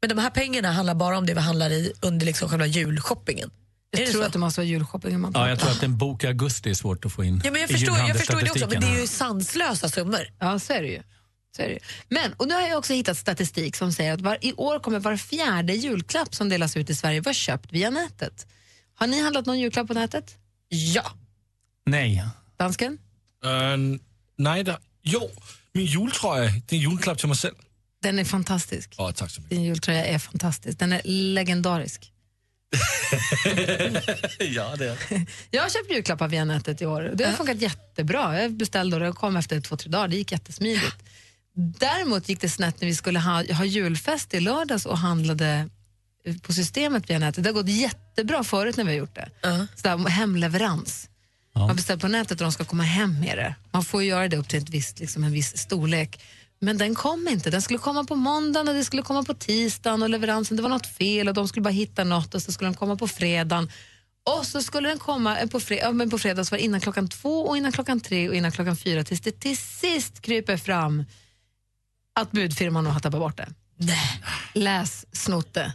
Speaker 2: Men de här pengarna handlar bara om det vi handlar i under liksom själva julshoppingen.
Speaker 5: Jag tror att det måste vara julshopping. om Man
Speaker 6: Ja, jag tror att en bok i augusti är svårt att få in
Speaker 2: Ja, men jag,
Speaker 6: i
Speaker 2: förstår, jag förstår det också, men det är
Speaker 6: julhandelsstatistiken.
Speaker 2: ju sanslösa summor.
Speaker 5: Ja, så är det ju. Så är det ju. Men, och nu har jag också hittat statistik som säger att var, i år kommer var fjärde julklapp som delas ut i Sverige vara köpt via nätet. Har ni handlat någon julklapp på nätet?
Speaker 2: Ja.
Speaker 6: Nej.
Speaker 5: Dansken?
Speaker 8: Uh, nej, der... jo, min juletrøje, det er en juleklap til mig selv.
Speaker 5: Den är fantastisk.
Speaker 8: Åh, tak så
Speaker 5: Din jultröja är fantastisk. Den är legendarisk.
Speaker 8: mycket. ja, det er.
Speaker 5: Jag har köpt julklappar via nätet i år. Det har funkat jättebra. Jag beställde och det kom efter två, tre dagar. Det gick jättesmidigt. Däremot gick det snett när vi skulle ha, ha julfest i lördags och handlade eh, på systemet via nätet. Det har gått jättebra förut när vi har gjort det. Sådär, hemleverans. Man beställer på nätet och de ska komma hem med det. Man får ju göra det upp till ett visst, liksom en viss storlek. Men den kom inte. Den skulle komma på måndagen och det skulle komma på tisdagen och leveransen, det var något fel och de skulle bara hitta något och så skulle den komma på fredagen. Och så skulle den komma eh, på, fre- ja, men på fredag så var det innan klockan två och innan klockan tre och innan klockan fyra tills det till sist kryper fram att budfirman nog har tappat bort det. Läs snotte.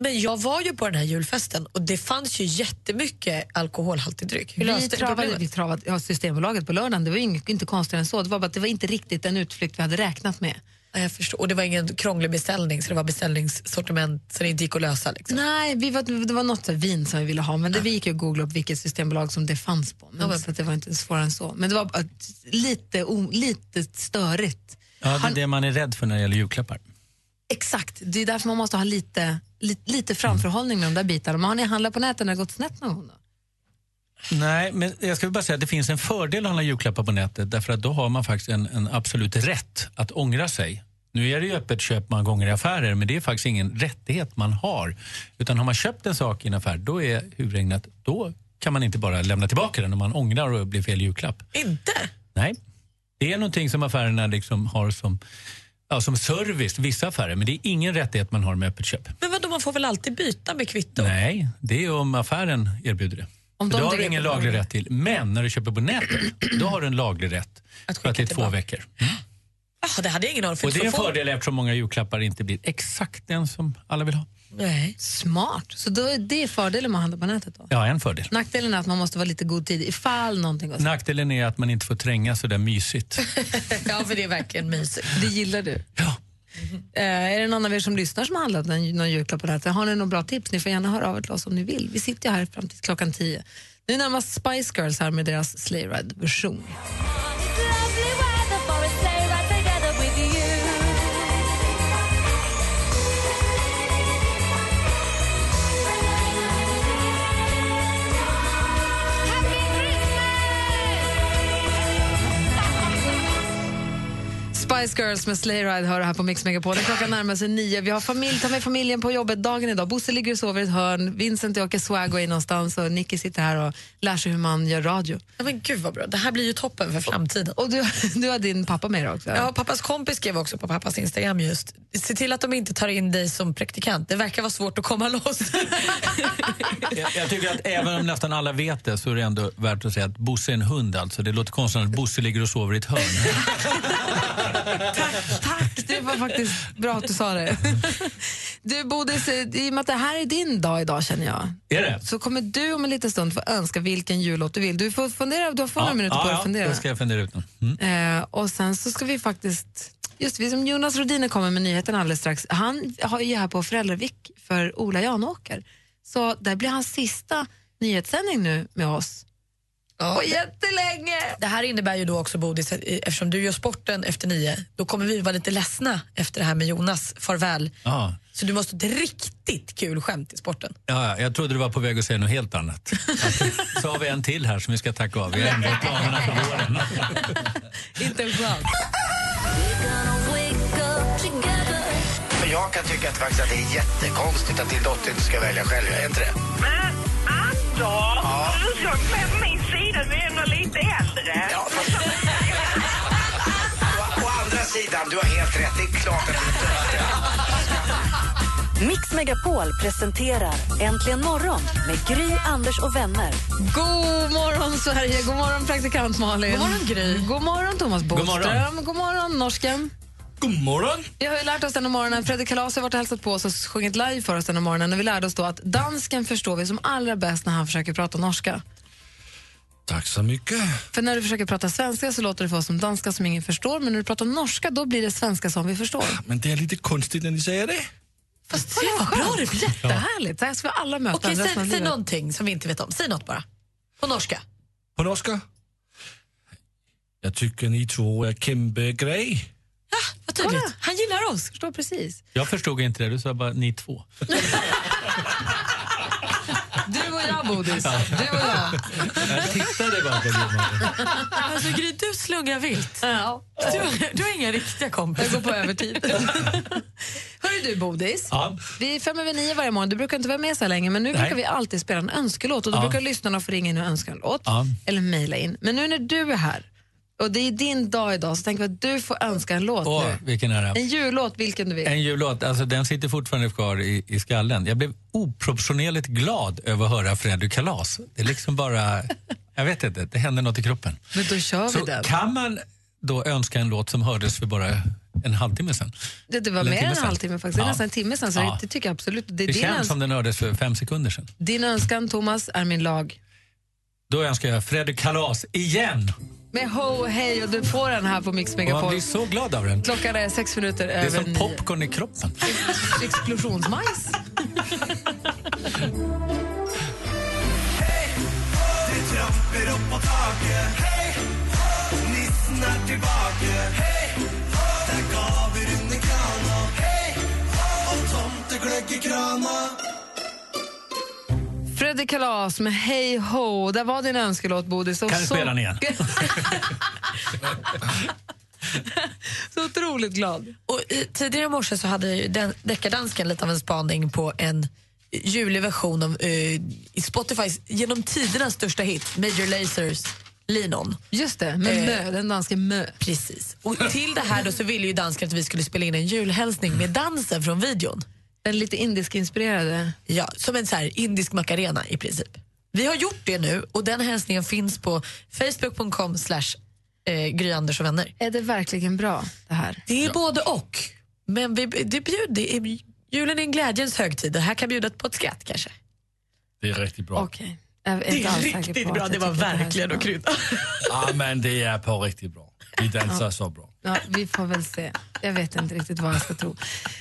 Speaker 2: Men jag var ju på den här julfesten och det fanns ju jättemycket alkoholhaltig dryck. Hur
Speaker 5: Vi
Speaker 2: löste ni
Speaker 5: travade,
Speaker 2: problemet?
Speaker 5: vi travade ja, Systembolaget på lördagen. Det var ju inget, inte konstigare än så. Det var bara att det var inte riktigt den utflykt vi hade räknat med.
Speaker 2: Nej, jag förstår. Och det var ingen krånglig beställning, så det var beställningssortiment så det inte gick att lösa. Liksom.
Speaker 5: Nej, vi var, det var något så här vin som vi ville ha, men det, vi gick ju och googlade upp vilket systembolag som det fanns på. Men,
Speaker 2: Ja, men-
Speaker 5: så att det var inte svårare än så. Men det var bara ett- lite, o, lite störigt.
Speaker 6: Ja, det är det man är rädd för när det gäller julklappar.
Speaker 5: Exakt, det är därför man måste ha lite, li, lite framförhållning med de där bitarna. Men har ni handlat på nätet när det gått snett någon gång? Då?
Speaker 6: Nej, men jag skulle bara säga att det finns en fördel att handla julklappar på nätet därför att då har man faktiskt en, en absolut rätt att ångra sig. Nu är det ju öppet köp många gånger i affärer men det är faktiskt ingen rättighet man har. Utan har man köpt en sak i en affär då är huvudregeln att då kan man inte bara lämna tillbaka den om man ångrar och det blir fel julklapp.
Speaker 2: Inte?
Speaker 6: Nej. Det är någonting som affärerna liksom har som, ja, som service, vissa affärer, men det är ingen rättighet man har med öppet köp.
Speaker 2: Men vadå, man får väl alltid byta med kvitto?
Speaker 6: Nej, det är om affären erbjuder det.
Speaker 2: Om
Speaker 6: För
Speaker 2: de
Speaker 6: det har du
Speaker 2: tycker
Speaker 6: ingen
Speaker 2: att det är
Speaker 6: laglig
Speaker 2: bra.
Speaker 6: rätt till. Men när du köper på nätet, då har du en laglig rätt. För att det är två veckor.
Speaker 2: Ah, det hade jag ingen aning om.
Speaker 6: Och det är en fördel eftersom många julklappar inte blir exakt den som alla vill ha.
Speaker 2: Nej.
Speaker 5: Smart, så då är det är fördelen med att handla på nätet. Då.
Speaker 6: Ja, en fördel.
Speaker 5: Nackdelen är att man måste vara lite god tid ifall någonting går snett.
Speaker 6: Nackdelen är att man inte får tränga så där mysigt.
Speaker 2: <laughs> ja, för det är verkligen mysigt.
Speaker 5: Det gillar du. Eh, är det någon av er som lyssnar som har handlat en, någon julklapp på det här? Har ni några bra tips? Ni får gärna höra av er till oss om ni vill. Vi sitter ju här fram till klockan tio. Nu närmast Spice Girls här med deras Sleigh Ride-version. Spice Girls med Sleigh Ride hör du här på Mix Megapol. Klockan närmar sig nio. Vi har familj, tar med familjen på jobbet dagen idag. Bosse ligger och sover i ett hörn. Vincent och jag åker swag och är någonstans och Nicky sitter här och lär sig hur man gör radio.
Speaker 2: Ja, men gud vad bra. Det här blir ju toppen för framtiden.
Speaker 5: Och du, du har din pappa med dig också?
Speaker 2: Ja, pappas kompis skrev också på pappas Instagram just. Se till att de inte tar in dig som praktikant. Det verkar vara svårt att
Speaker 5: <laughs>
Speaker 2: komma loss.
Speaker 6: Jag, jag tycker att även om nästan alla vet det så är det ändå värt att säga att Bosse är en hund alltså. Det låter konstigt att Bosse ligger och sover i ett hörn.
Speaker 5: Det var faktiskt bra att du sa det. Du, Bodis, i och med att det här är din dag idag känner jag.
Speaker 6: Är det?
Speaker 5: Så kommer du om en liten stund få önska vilken jullåt du vill. Du får fundera, du har fått några minuter på dig att fundera.
Speaker 6: då ska jag fundera ut Mm. någon.
Speaker 5: Eh, och sen så ska vi faktiskt... Just vi som Jonas Rodiner kommer med nyheten alldeles strax. Han har ju här på föräldravick för Ola Janåker. Så det blir hans sista nyhetssändning nu med oss.
Speaker 2: Ja.
Speaker 5: Och jättelänge!
Speaker 2: Det här innebär ju då också, Bodis, att, eh, eftersom du gör sporten efter nio, då kommer vi vara lite ledsna efter det här med Jonas farväl.
Speaker 6: Ja.
Speaker 2: Så du måste ha ett riktigt kul skämt i sporten.
Speaker 6: Ja, ja, jag trodde du var på väg att säga något helt annat.
Speaker 15: <laughs>
Speaker 6: Att- Så har vi en till här som vi ska tacka av. Vi har ändrat planerna för våren.
Speaker 2: Inte en chans.
Speaker 16: Men Jag kan tycka att, faktiskt att det är jättekonstigt att din dotter inte ska välja själv. Är inte det?
Speaker 4: Men alltså, du såg med på min sida, du är ändå lite äldre.
Speaker 16: Å andra sidan, du har helt rätt. Det är klart att inte
Speaker 1: Mix Megapol presenterar Äntligen morgon med Gry, Anders och vänner.
Speaker 5: God morgon, Sverige! God morgon, praktikant Malin! God morgon, Gry! God morgon, Thomas
Speaker 1: God
Speaker 5: Bodström!
Speaker 1: morgon.
Speaker 5: God morgon, norsken!
Speaker 15: God morgon!
Speaker 5: Vi har ju lärt oss den här morgonen, Fredrik Kalas har varit och hälsat på oss och sjungit live för oss den här morgonen och vi lärde oss då att dansken förstår vi som allra bäst när han försöker prata norska.
Speaker 15: Tack så mycket.
Speaker 5: För när du försöker prata svenska så låter det för oss som danska som ingen förstår, men när du pratar norska då blir det svenska som vi förstår.
Speaker 15: Men det är lite konstigt när ni säger det.
Speaker 5: Fast det var bra det blir. Jättehärligt. Det här ska vi alla möta
Speaker 2: Okej,
Speaker 5: resten av
Speaker 2: säg, säg
Speaker 5: livet.
Speaker 2: någonting som vi inte vet om. Säg något bara. På norska.
Speaker 15: På norska? Jag tycker ni två är kämpe grej.
Speaker 2: Vad tydligt. Han gillar oss.
Speaker 5: Förstår precis.
Speaker 6: Jag förstod inte det, du sa bara ni två.
Speaker 5: Du och jag, Bodis.
Speaker 6: Ja.
Speaker 5: Du och jag.
Speaker 6: Jag tittade bara på det.
Speaker 2: Alltså Gry, du slungar vilt. Du, du har inga riktiga
Speaker 5: Jag
Speaker 2: kompisar.
Speaker 5: går på övertid.
Speaker 6: <laughs>
Speaker 5: Hörru du, Bodis.
Speaker 6: Ja.
Speaker 5: Vi är fem över nio varje morgon. Du brukar inte vara med så här länge, men nu
Speaker 6: Nej.
Speaker 5: brukar vi alltid spela en önskelåt och då
Speaker 6: Ja.
Speaker 5: brukar lyssnarna få ringa in och önska en låt
Speaker 6: Ja.
Speaker 5: eller mejla in. Men nu när du är här och det är din dag idag så tänker vi att du får önska en låt
Speaker 6: Åh,
Speaker 5: nu.
Speaker 6: vilken ära.
Speaker 5: En jullåt, vilken du vill.
Speaker 6: En jullåt, alltså den sitter fortfarande kvar i, i skallen. Jag blev oproportionerligt glad över att höra Fredrik Kalas. Det är liksom bara, jag vet inte, det händer något i kroppen.
Speaker 5: Men då kör vi
Speaker 6: Så
Speaker 5: den.
Speaker 6: kan man då önska en låt som hördes för bara en halvtimme sedan?
Speaker 5: Det, det var
Speaker 6: Eller en
Speaker 5: mer än en
Speaker 6: timme sedan.
Speaker 5: halvtimme faktiskt. Det är
Speaker 6: Ja.
Speaker 5: nästan en timme sedan, så
Speaker 6: Ja.
Speaker 5: det tycker jag absolut. Det
Speaker 6: Det,
Speaker 5: är din,
Speaker 6: känns
Speaker 5: öns
Speaker 6: som den hördes för fem sekunder sedan.
Speaker 5: din önskan, Thomas, är min lag.
Speaker 6: Då önskar jag Fredrik Kalas igen.
Speaker 5: med Ho Hej och du får den här på Mix
Speaker 6: Och man
Speaker 5: Megapol.
Speaker 6: blir så glad av den.
Speaker 5: Klockan är sex minuter
Speaker 6: Det är
Speaker 5: över
Speaker 6: som
Speaker 5: nio.
Speaker 6: popcorn i kroppen.
Speaker 5: <laughs> Explosionsmajs.
Speaker 14: Det är trappor upp mot taket. Hej! Nissen är tillbaka. Hej! Där gaver under kranen. Hej! Och tomteglögg i kranen.
Speaker 5: Fredrik Kalas med Hej Ho. Där var din önskelåt, Bodis. Och
Speaker 6: Kan du
Speaker 5: så-
Speaker 6: spela den igen?
Speaker 5: <laughs> Så otroligt glad.
Speaker 2: Och i, tidigare i morse så hade ju den, deckardansken lite av en spaning på en julig version av eh, i Spotifys genom tidernas största hit, Major Lazers Linon.
Speaker 5: Just det, med Mö, den danske Mö.
Speaker 2: Precis. Och till det här då så ville ju dansken att vi skulle spela in en julhälsning med dansen från videon.
Speaker 5: Den lite indisk-inspirerade.
Speaker 2: Ja, som en så här indisk macarena i princip. Vi har gjort det nu och den hälsningen finns på facebook.com slash eh, Gry Anders och vänner.
Speaker 5: Är det verkligen bra det här?
Speaker 2: Det är både och. Men vi, det bjud, det är, julen är en glädjens högtid. Det här kan bjuda på ett skratt kanske.
Speaker 15: Det är riktigt bra.
Speaker 5: Okej. Jag
Speaker 2: Det är
Speaker 5: inte alls säker
Speaker 2: riktigt
Speaker 5: på att
Speaker 2: bra.
Speaker 5: jag
Speaker 2: Det var
Speaker 5: tycker här är
Speaker 2: verkligen
Speaker 5: så
Speaker 2: att
Speaker 5: bra.
Speaker 2: krydda.
Speaker 15: Ja,
Speaker 8: Ah,
Speaker 15: men det är på riktigt bra. Vi dansar så bra.
Speaker 5: Ja, vi får väl se. Jag vet inte riktigt vad jag ska tro.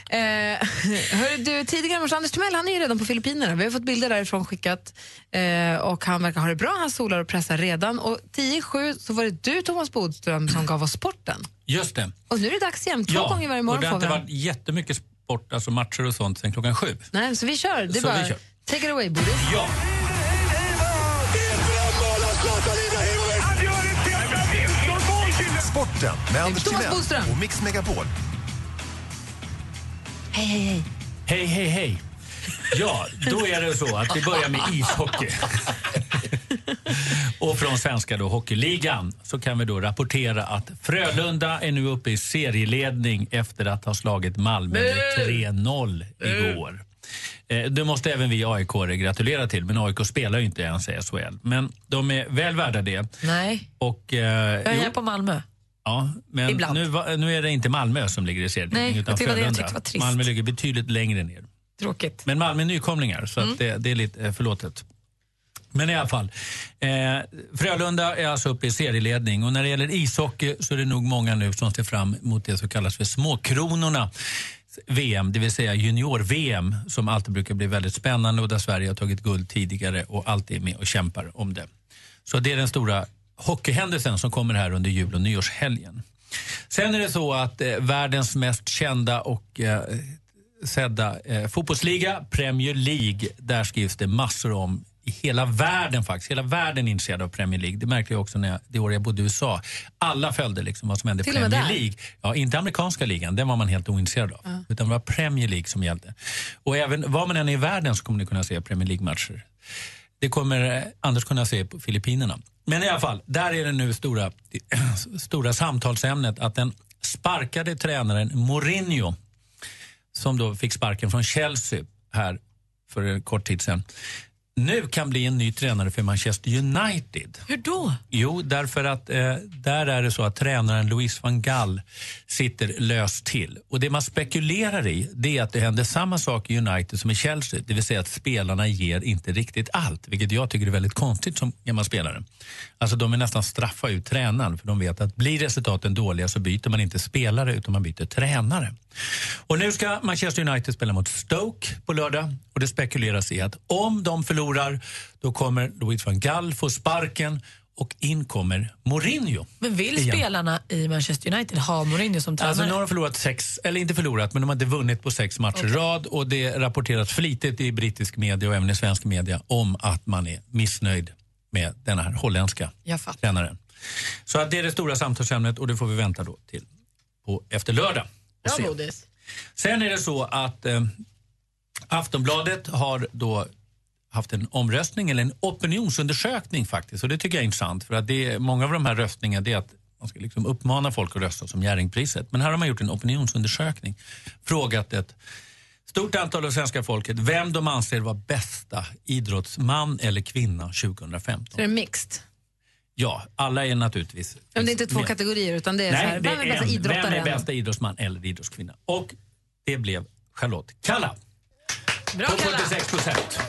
Speaker 5: Eh, <laughs> hörru, du, tidigare i morse, Anders Timell han är ju redan på Filippinerna. Vi har fått bilder därifrån skickat eh, och han verkar ha det bra. Han solar och pressar redan. Och 10 i sju så var det du, Thomas Bodström, som gav oss sporten.
Speaker 6: Just det.
Speaker 5: Och nu är det dags igen. Två gånger varje
Speaker 6: och
Speaker 5: morgon
Speaker 6: det har
Speaker 5: får vi
Speaker 6: inte
Speaker 5: den.
Speaker 6: varit jättemycket sport, alltså matcher och sånt, sen klockan sju.
Speaker 5: Nej, Så vi kör. Det är
Speaker 6: Så vi
Speaker 5: bara,
Speaker 6: kör.
Speaker 5: Take it away, Bodis.
Speaker 6: Ja.
Speaker 17: Sporten med Anders
Speaker 5: Thomas
Speaker 17: Timell
Speaker 5: Bodström.
Speaker 17: och Mix Megapol.
Speaker 5: Hej, hej, hej.
Speaker 6: Hej, hej, hej. Ja, då är det så att vi börjar med ishockey. Och från svenska då, hockeyligan så kan vi då rapportera att Frölunda är nu uppe i serieledning efter att ha slagit Malmö med 3-0 igår. Eh, Det måste även vi aik gratulera till, men AIK spelar ju inte ens i SHL. Men de är väl värda det.
Speaker 2: Nej,
Speaker 6: Och,
Speaker 2: jag
Speaker 6: eh,
Speaker 2: är
Speaker 6: jo,
Speaker 2: här på Malmö.
Speaker 6: Ja, men
Speaker 2: Ibland.
Speaker 6: nu, va- nu är det inte Malmö som ligger i serieledning
Speaker 2: Nej,
Speaker 6: utan
Speaker 2: och det var det jag
Speaker 6: Frölunda.
Speaker 2: tyckte var trist.
Speaker 6: Malmö ligger betydligt längre ner.
Speaker 2: Tråkigt.
Speaker 6: Men Malmö är nykomlingar, så att det, det är lite eh, förlåtet. Men i alla fall, eh, Frölunda är alltså uppe i serieledning och när det gäller ishockey så är det nog många nu som ser fram emot det som kallas för småkronorna. VM, det vill säga junior-VM som alltid brukar bli väldigt spännande och där Sverige har tagit guld tidigare och alltid är med och kämpar om det. Så det är den stora hockeyhändelsen som kommer här under jul och nyårshelgen. Sen är det så att eh, världens mest kända och eh, sedda eh, fotbollsliga, Premier League. Där skrivs det massor om i hela världen faktiskt. Hela världen är intresserad av Premier League. Det märkte jag också när jag, det år jag bodde i USA. Alla följde liksom vad som hände i
Speaker 2: Till och med
Speaker 6: Premier
Speaker 2: där?
Speaker 6: League. Ja, inte amerikanska ligan, den var man helt ointresserad av. Utan det var Premier League som gällde. Och även var man än är i världen så kommer ni kunna se Premier League-matcher. Det kommer eh, Anders kunna se på Filippinerna. Men i alla fall, där är det nu stora, <clears throat> stora samtalsämnet att den sparkade tränaren Mourinho som då fick sparken från Chelsea här för en kort tid sedan, nu kan bli en ny tränare för Manchester United.
Speaker 2: Hur då?
Speaker 6: Jo, därför att eh, där är det så att tränaren Louis van Gaal sitter löst till. Och det man spekulerar i det är att det händer samma sak i United som i Chelsea. Det vill säga att spelarna ger inte riktigt allt, vilket jag tycker är väldigt konstigt som gammal spelare. Alltså de vill nästan straffa ut tränaren för de vet att blir resultaten dåliga så byter man inte spelare utan man byter tränare. Och nu ska Manchester United spela mot Stoke på lördag och det spekuleras i att om de förlorar då kommer Louis van Gaal få sparken och in kommer Mourinho.
Speaker 2: Men vill
Speaker 6: igen.
Speaker 2: spelarna i Manchester United ha Mourinho som tränare?
Speaker 6: Alltså nu har de förlorat sex, eller inte förlorat, men de har inte vunnit på sex matcher i rad och det rapporteras flitigt i brittisk media och även i svensk media om att man är missnöjd med den här holländska
Speaker 2: Jag fattar.
Speaker 6: tränaren. Så att det är det stora samtalsämnet och det får vi vänta då till på efter lördag. och se.
Speaker 2: Bra, Bodis.
Speaker 6: Sen är det så att eh, Aftonbladet har då haft en omröstning, eller en opinionsundersökning faktiskt. Och det tycker jag är intressant. För att det är, många av de här röstningarna det är att man ska liksom uppmana folk att rösta som Jerringpriset. Men här har man gjort en opinionsundersökning. Frågat ett stort antal av svenska folket vem de anser var bästa idrottsman eller kvinna 2015.
Speaker 5: Så det är mixed.
Speaker 6: Ja, alla är naturligtvis...
Speaker 5: Men det är inte två
Speaker 6: med.
Speaker 5: kategorier, utan det är Eh, så här,
Speaker 6: Nej, det
Speaker 5: vem är bästa
Speaker 6: en. Vem är
Speaker 5: idrottaren?
Speaker 6: bästa idrottsman eller idrottskvinna? Och det blev Charlotte Kalla.
Speaker 2: Bra,
Speaker 6: på 46 procent.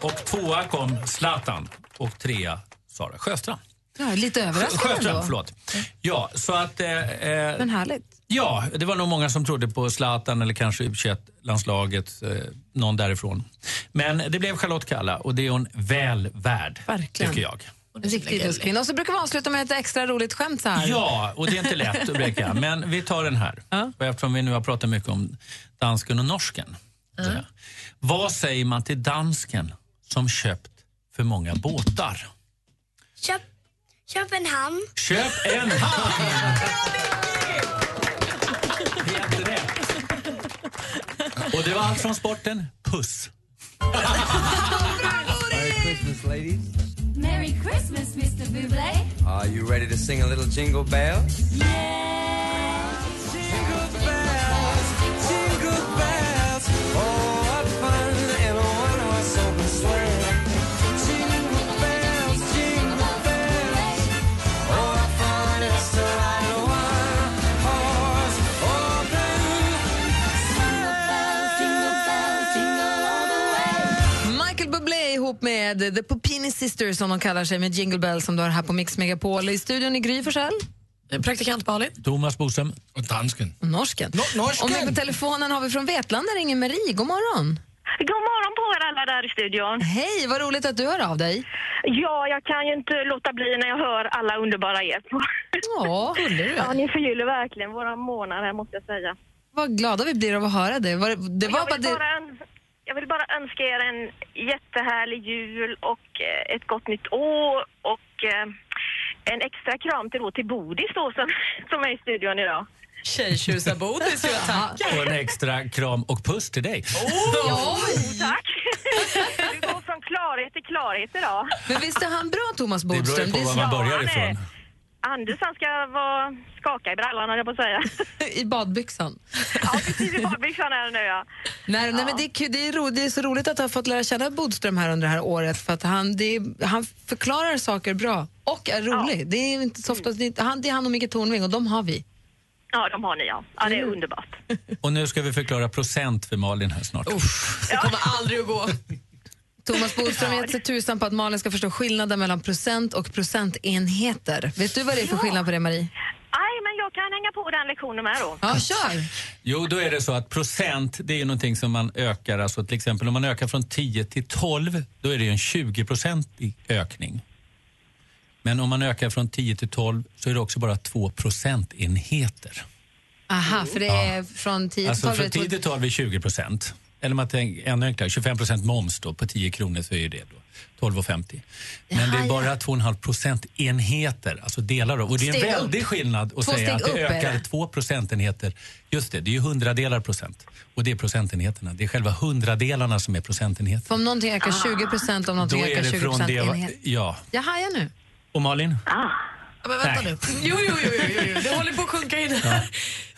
Speaker 6: Och tvåa kom Zlatan och trea Sara Sjöstrand.
Speaker 5: Ja, lite överraskande
Speaker 6: Sjöström,
Speaker 5: ändå.
Speaker 6: förlåt. Ja, så att... eh, eh,
Speaker 5: Mm. Men härligt.
Speaker 6: Ja, det var nog många som trodde på Zlatan eller kanske u landslaget eh, någon därifrån. Men det blev Charlotte Kalla och det är hon väl värd,
Speaker 5: Verkligen.
Speaker 6: tycker jag.
Speaker 5: En riktig idrottskvinna. Och så brukar vi avsluta med ett extra roligt skämt så här.
Speaker 6: Ja, och det är inte lätt att bräcka, men vi tar den här. Och eftersom vi nu har pratat mycket om dansken och norsken.
Speaker 14: Ja.
Speaker 6: Vad säger man till dansken som köpt för många båtar?
Speaker 17: Köp, köp en hamn.
Speaker 6: Köp en hamn! Helt rätt. Och det var allt från sporten. Puss!
Speaker 18: Merry Christmas, ladies.
Speaker 14: Merry Christmas, Mr. Buble.
Speaker 18: Are you ready to sing a little jingle bell?
Speaker 14: Jingle bells, oh what fun in a one-horse open sleigh. Jingle bells, jingle bells, oh what fun it is to ride a one-horse open sleigh. Jingle bells, jingle all the way.
Speaker 5: Michael Bublé ihop med The Popini Sisters som de kallar sig med Jingle Bell som du har här på Mix Megapol. I studion i Gry Forssell. Praktikant Malin.
Speaker 6: Thomas Boström.
Speaker 15: Och dansken.
Speaker 5: Norsken. Och med på telefonen har vi från Vetlanda ringer Marie. God morgon.
Speaker 19: God morgon på er alla där i studion.
Speaker 5: Hej, vad roligt att du hör av dig.
Speaker 19: Ja, jag kan ju inte låta bli när jag hör alla underbara er.
Speaker 5: Ja, gullig du är.
Speaker 19: Ja, ni förgyller verkligen våra månader här måste jag säga.
Speaker 5: Vad glada vi blir av att höra det. Var, det var
Speaker 19: jag,
Speaker 5: bara
Speaker 19: vill
Speaker 5: det.
Speaker 19: bara öns- jag vill bara önska er en jättehärlig jul och eh, ett gott nytt år och eh, en extra kram till, då, till Bodis då som, <laughs> som är i studion idag.
Speaker 20: Tjejtjusarbodis, ja tack.
Speaker 6: Och en extra kram och puss till dig.
Speaker 19: Ja, tack! Du går från klarhet till klarhet idag.
Speaker 5: Men visst är han bra, Thomas
Speaker 6: beror ju
Speaker 5: Bodström?
Speaker 6: på var man börjar
Speaker 5: Ja,
Speaker 6: ifrån.
Speaker 19: Anders han ska vara skaka i brallan höll jag på att säga.
Speaker 5: I badbyxan.
Speaker 19: <laughs> Ja, precis i badbyxan är det nu ja.
Speaker 5: Nej, nej, men det, är, kul- det, är ro, det är så roligt att ha fått lära känna Bodström här under det här året för att han, det är, han förklarar saker bra och är rolig. Det är ju inte så ofta, det är, inte- han, det är han och Micke Tornving och de har vi.
Speaker 19: Ja, de har ni ja. Ja, det är underbart.
Speaker 6: Och nu ska vi förklara procent för Malin här snart.
Speaker 19: Det kommer
Speaker 20: aldrig att gå.
Speaker 19: <laughs>
Speaker 5: Thomas Bodström har gett sig tusan på att Malin ska förstå skillnaden mellan procent och procentenheter. Vet du vad det är för skillnad på det, Marie?
Speaker 19: Nej, men jag kan hänga på den lektionen med då.
Speaker 5: Ja, kör!
Speaker 6: Jo, då är det så att procent, det är ju någonting som man ökar. Alltså till exempel om man ökar från 10 till 12, då är det ju en 20-procentig ökning. Men om man ökar från 10 till 12 så är det också bara 2 procentenheter.
Speaker 5: Aha, för det är från 10 till
Speaker 6: Alltså
Speaker 5: 12.
Speaker 6: från 10 till 12 är 20 procent. Eller man tänker ännu enklare, 25 procent moms då, på 10 kronor så är ju det då 12,50. Men det
Speaker 5: Jaha,
Speaker 6: är bara 2,5 procentenheter, alltså delar av. Och det är en
Speaker 5: Steg
Speaker 6: väldig
Speaker 5: upp.
Speaker 6: skillnad att
Speaker 5: Två steg
Speaker 6: säga att
Speaker 5: upp
Speaker 6: det
Speaker 5: är
Speaker 6: ökar
Speaker 5: det.
Speaker 6: 2 procentenheter. Just det, det är ju hundradelar procent. Och det är procentenheterna. Det är själva hundradelarna som är procentenheter.
Speaker 5: För om någonting ökar 20 procent, om någonting
Speaker 6: Då är
Speaker 5: ökar
Speaker 6: det
Speaker 5: 20
Speaker 6: från
Speaker 5: procent
Speaker 6: det...
Speaker 5: enhet.
Speaker 6: Ja.
Speaker 5: Jag hajar nu.
Speaker 6: Och Malin?
Speaker 20: Men vänta
Speaker 6: Nej.
Speaker 20: nu. Jo, jo, jo, jo, jo, jo. det håller på att sjunka in här.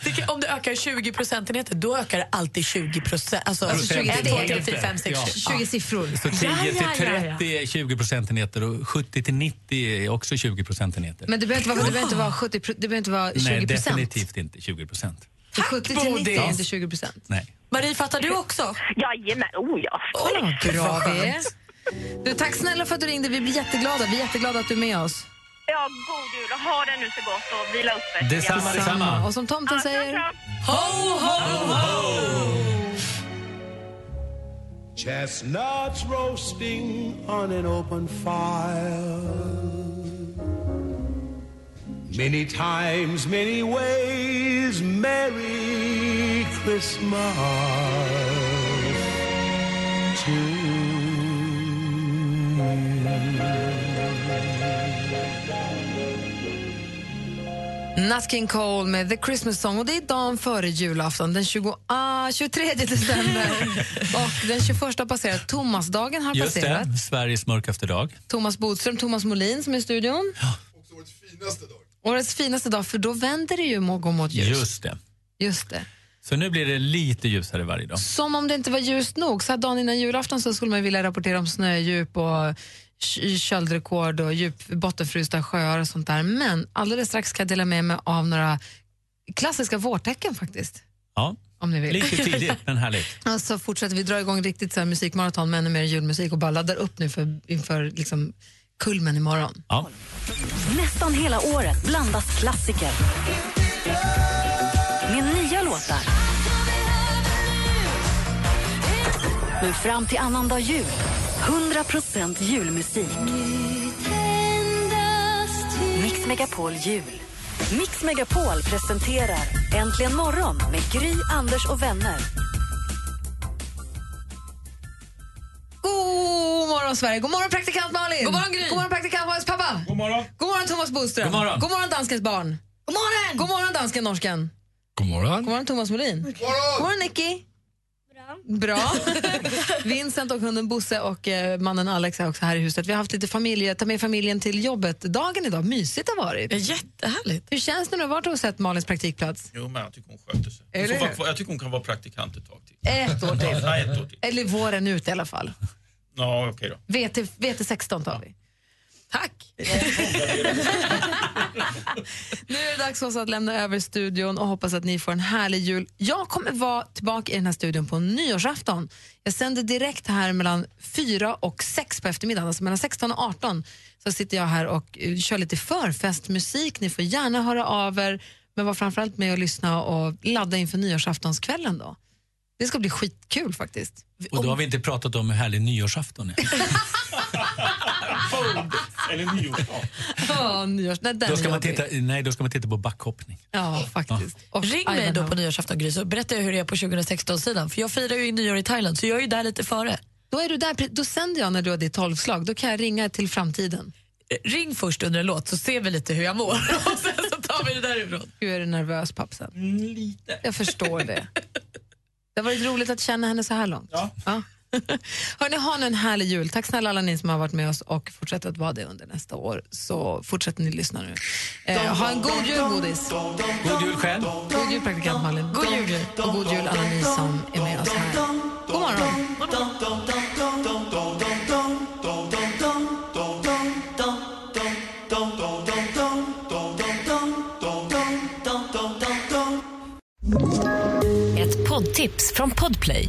Speaker 20: Det kan, om det ökar 20 procentenheter, då ökar det alltid 20 procent. Alltså,
Speaker 6: Alltså 20
Speaker 20: 1, 2, 3, 4,
Speaker 6: enheter.
Speaker 20: 5, 6,
Speaker 6: Ja.
Speaker 20: 20.
Speaker 5: 20 siffror.
Speaker 6: Så 10 till 30 är 20 procentenheter och 70 till 90 är också 20 procentenheter.
Speaker 5: Men det behöver inte vara, det behöver inte vara, 70, pro- det behöver inte vara 20
Speaker 6: Nej,
Speaker 5: procent.
Speaker 6: definitivt inte 20 procent.
Speaker 5: För 70 till 90 är inte 20 procent.
Speaker 6: Nej.
Speaker 20: Marie, fattar du också?
Speaker 19: Jajamän, oh ja.
Speaker 5: Kolla vad bra vi är. Du, tack snälla för att du ringde. Vi blir jätteglada. Vi är jätteglada att du är med oss.
Speaker 19: Ja, god jul och ha det nu så gott och vila upp er.
Speaker 6: Detsamma,
Speaker 19: Ja.
Speaker 6: detsamma.
Speaker 5: Och som tomten säger...
Speaker 20: Ho, ho,
Speaker 14: Chestnuts roasting on an open fire. Many times, many ways, Merry Christmas to you.
Speaker 5: Nat King Cole med The Christmas Song. Och Det är dagen före julafton, den 20, ah, 23
Speaker 6: <laughs>
Speaker 5: december. och den 21 har passerat. Thomasdagen har
Speaker 6: Just
Speaker 5: passerat.
Speaker 6: det, Sveriges mörkaste dag.
Speaker 5: Thomas Bodström, Thomas Molin som är i studion. Årets finaste dag, för då vänder det ju morgon mot ljus.
Speaker 6: Just det.
Speaker 5: Just det.
Speaker 6: Så nu blir det lite ljusare varje dag.
Speaker 5: Som om det inte var ljust nog. Så här dagen innan julafton så skulle man vilja rapportera om snödjup och k- köldrekord och djup bottenfrysta sjöar och sånt där. Men alldeles strax ska jag dela med mig av några klassiska vårtecken faktiskt.
Speaker 6: Ja.
Speaker 5: Om ni vill.
Speaker 6: Lite tidigt, men härligt.
Speaker 5: <laughs> Och så fortsätter vi dra igång riktigt så här musikmaraton med ännu mer julmusik och bara laddar upp nu för, inför liksom kulmen imorgon.
Speaker 6: Ja.
Speaker 1: Nästan hela året blandas klassiker. Med nya låtar. Men fram till annandag jul, 100% julmusik. Mix Megapol jul. Mix Megapol presenterar Äntligen morgon med Gry, Anders och vänner.
Speaker 5: God morgon, Sverige! God morgon, praktikant Malin! God morgon, Gry! God morgon, praktikant Malins pappa! God morgon! God morgon, Thomas Bodström!
Speaker 14: God morgon.
Speaker 5: God morgon, danskens barn! God morgon! God morgon, dansken, norsken!
Speaker 15: God morgon.
Speaker 5: God morgon, Thomas Molin! God morgon, God morgon Nicky! Bra. <laughs> Vincent och hunden Bosse och eh, mannen Alex är också här i huset. Vi har haft lite familje, ta med familjen till jobbet-dagen idag. Mysigt har varit. Jättehärligt. Hur känns det nu? Vart har du sett Malins praktikplats?
Speaker 21: Jo, men jag tycker hon sköter sig.
Speaker 5: Är
Speaker 21: Hon får
Speaker 5: det?
Speaker 21: vara kvar. Jag tycker hon kan vara praktikant ett tag till.
Speaker 5: Ett år till.
Speaker 21: Ja, ett år till.
Speaker 5: Eller våren ut i alla fall.
Speaker 21: Ja, okej då.
Speaker 5: VT, VT16 tar vi. Tack! <laughs> nu är det dags för oss att lämna över studion och hoppas att ni får en härlig jul. Jag kommer vara tillbaka i den här studion på nyårsafton. Jag sänder direkt här mellan 4 och 6 på eftermiddagen, alltså mellan 16 och 18 så sitter jag här och eh, kör lite förfestmusik. Ni får gärna höra av er, men var framförallt med och lyssna och ladda inför nyårsaftonskvällen då. Det ska bli skitkul faktiskt.
Speaker 6: Och då har vi inte pratat om hur härlig nyårsafton <laughs> är.
Speaker 21: Eller nyårsdag.
Speaker 5: Ja, nyårs... Nej, den
Speaker 6: Då
Speaker 5: är
Speaker 6: ska, man
Speaker 5: jobbig.
Speaker 6: titta, nej, då ska man titta på backhoppning.
Speaker 5: Ja, faktiskt.
Speaker 2: Ring mig då på nyårsafton Gry, så berättar jag hur det är på 2016-sidan. För jag firar ju nyår i Thailand, så jag är ju där lite före. Eh,
Speaker 5: Då, är du där, pre- då sänder jag när du har ditt tolvslag. Då kan jag ringa till framtiden.
Speaker 2: Ring först under en låt så ser vi lite hur jag mår. Och sen så tar vi det därifrån.
Speaker 5: Gud, är du nervös, pappsen?
Speaker 21: lite.
Speaker 5: Jag förstår det. Det har varit roligt att känna henne så här långt. Ja. <laughs> Hörrni, ha nu en härlig jul. Tack snälla alla ni som har varit med oss och fortsätter att vara det under nästa år. Så fortsätter ni lyssna nu. Eh, ha en god jul, godis.
Speaker 6: God jul själv.
Speaker 5: God jul, praktikant Malin. God jul. Och god jul alla ni som är med oss här. God morgon.
Speaker 22: Ett poddtips från Podplay.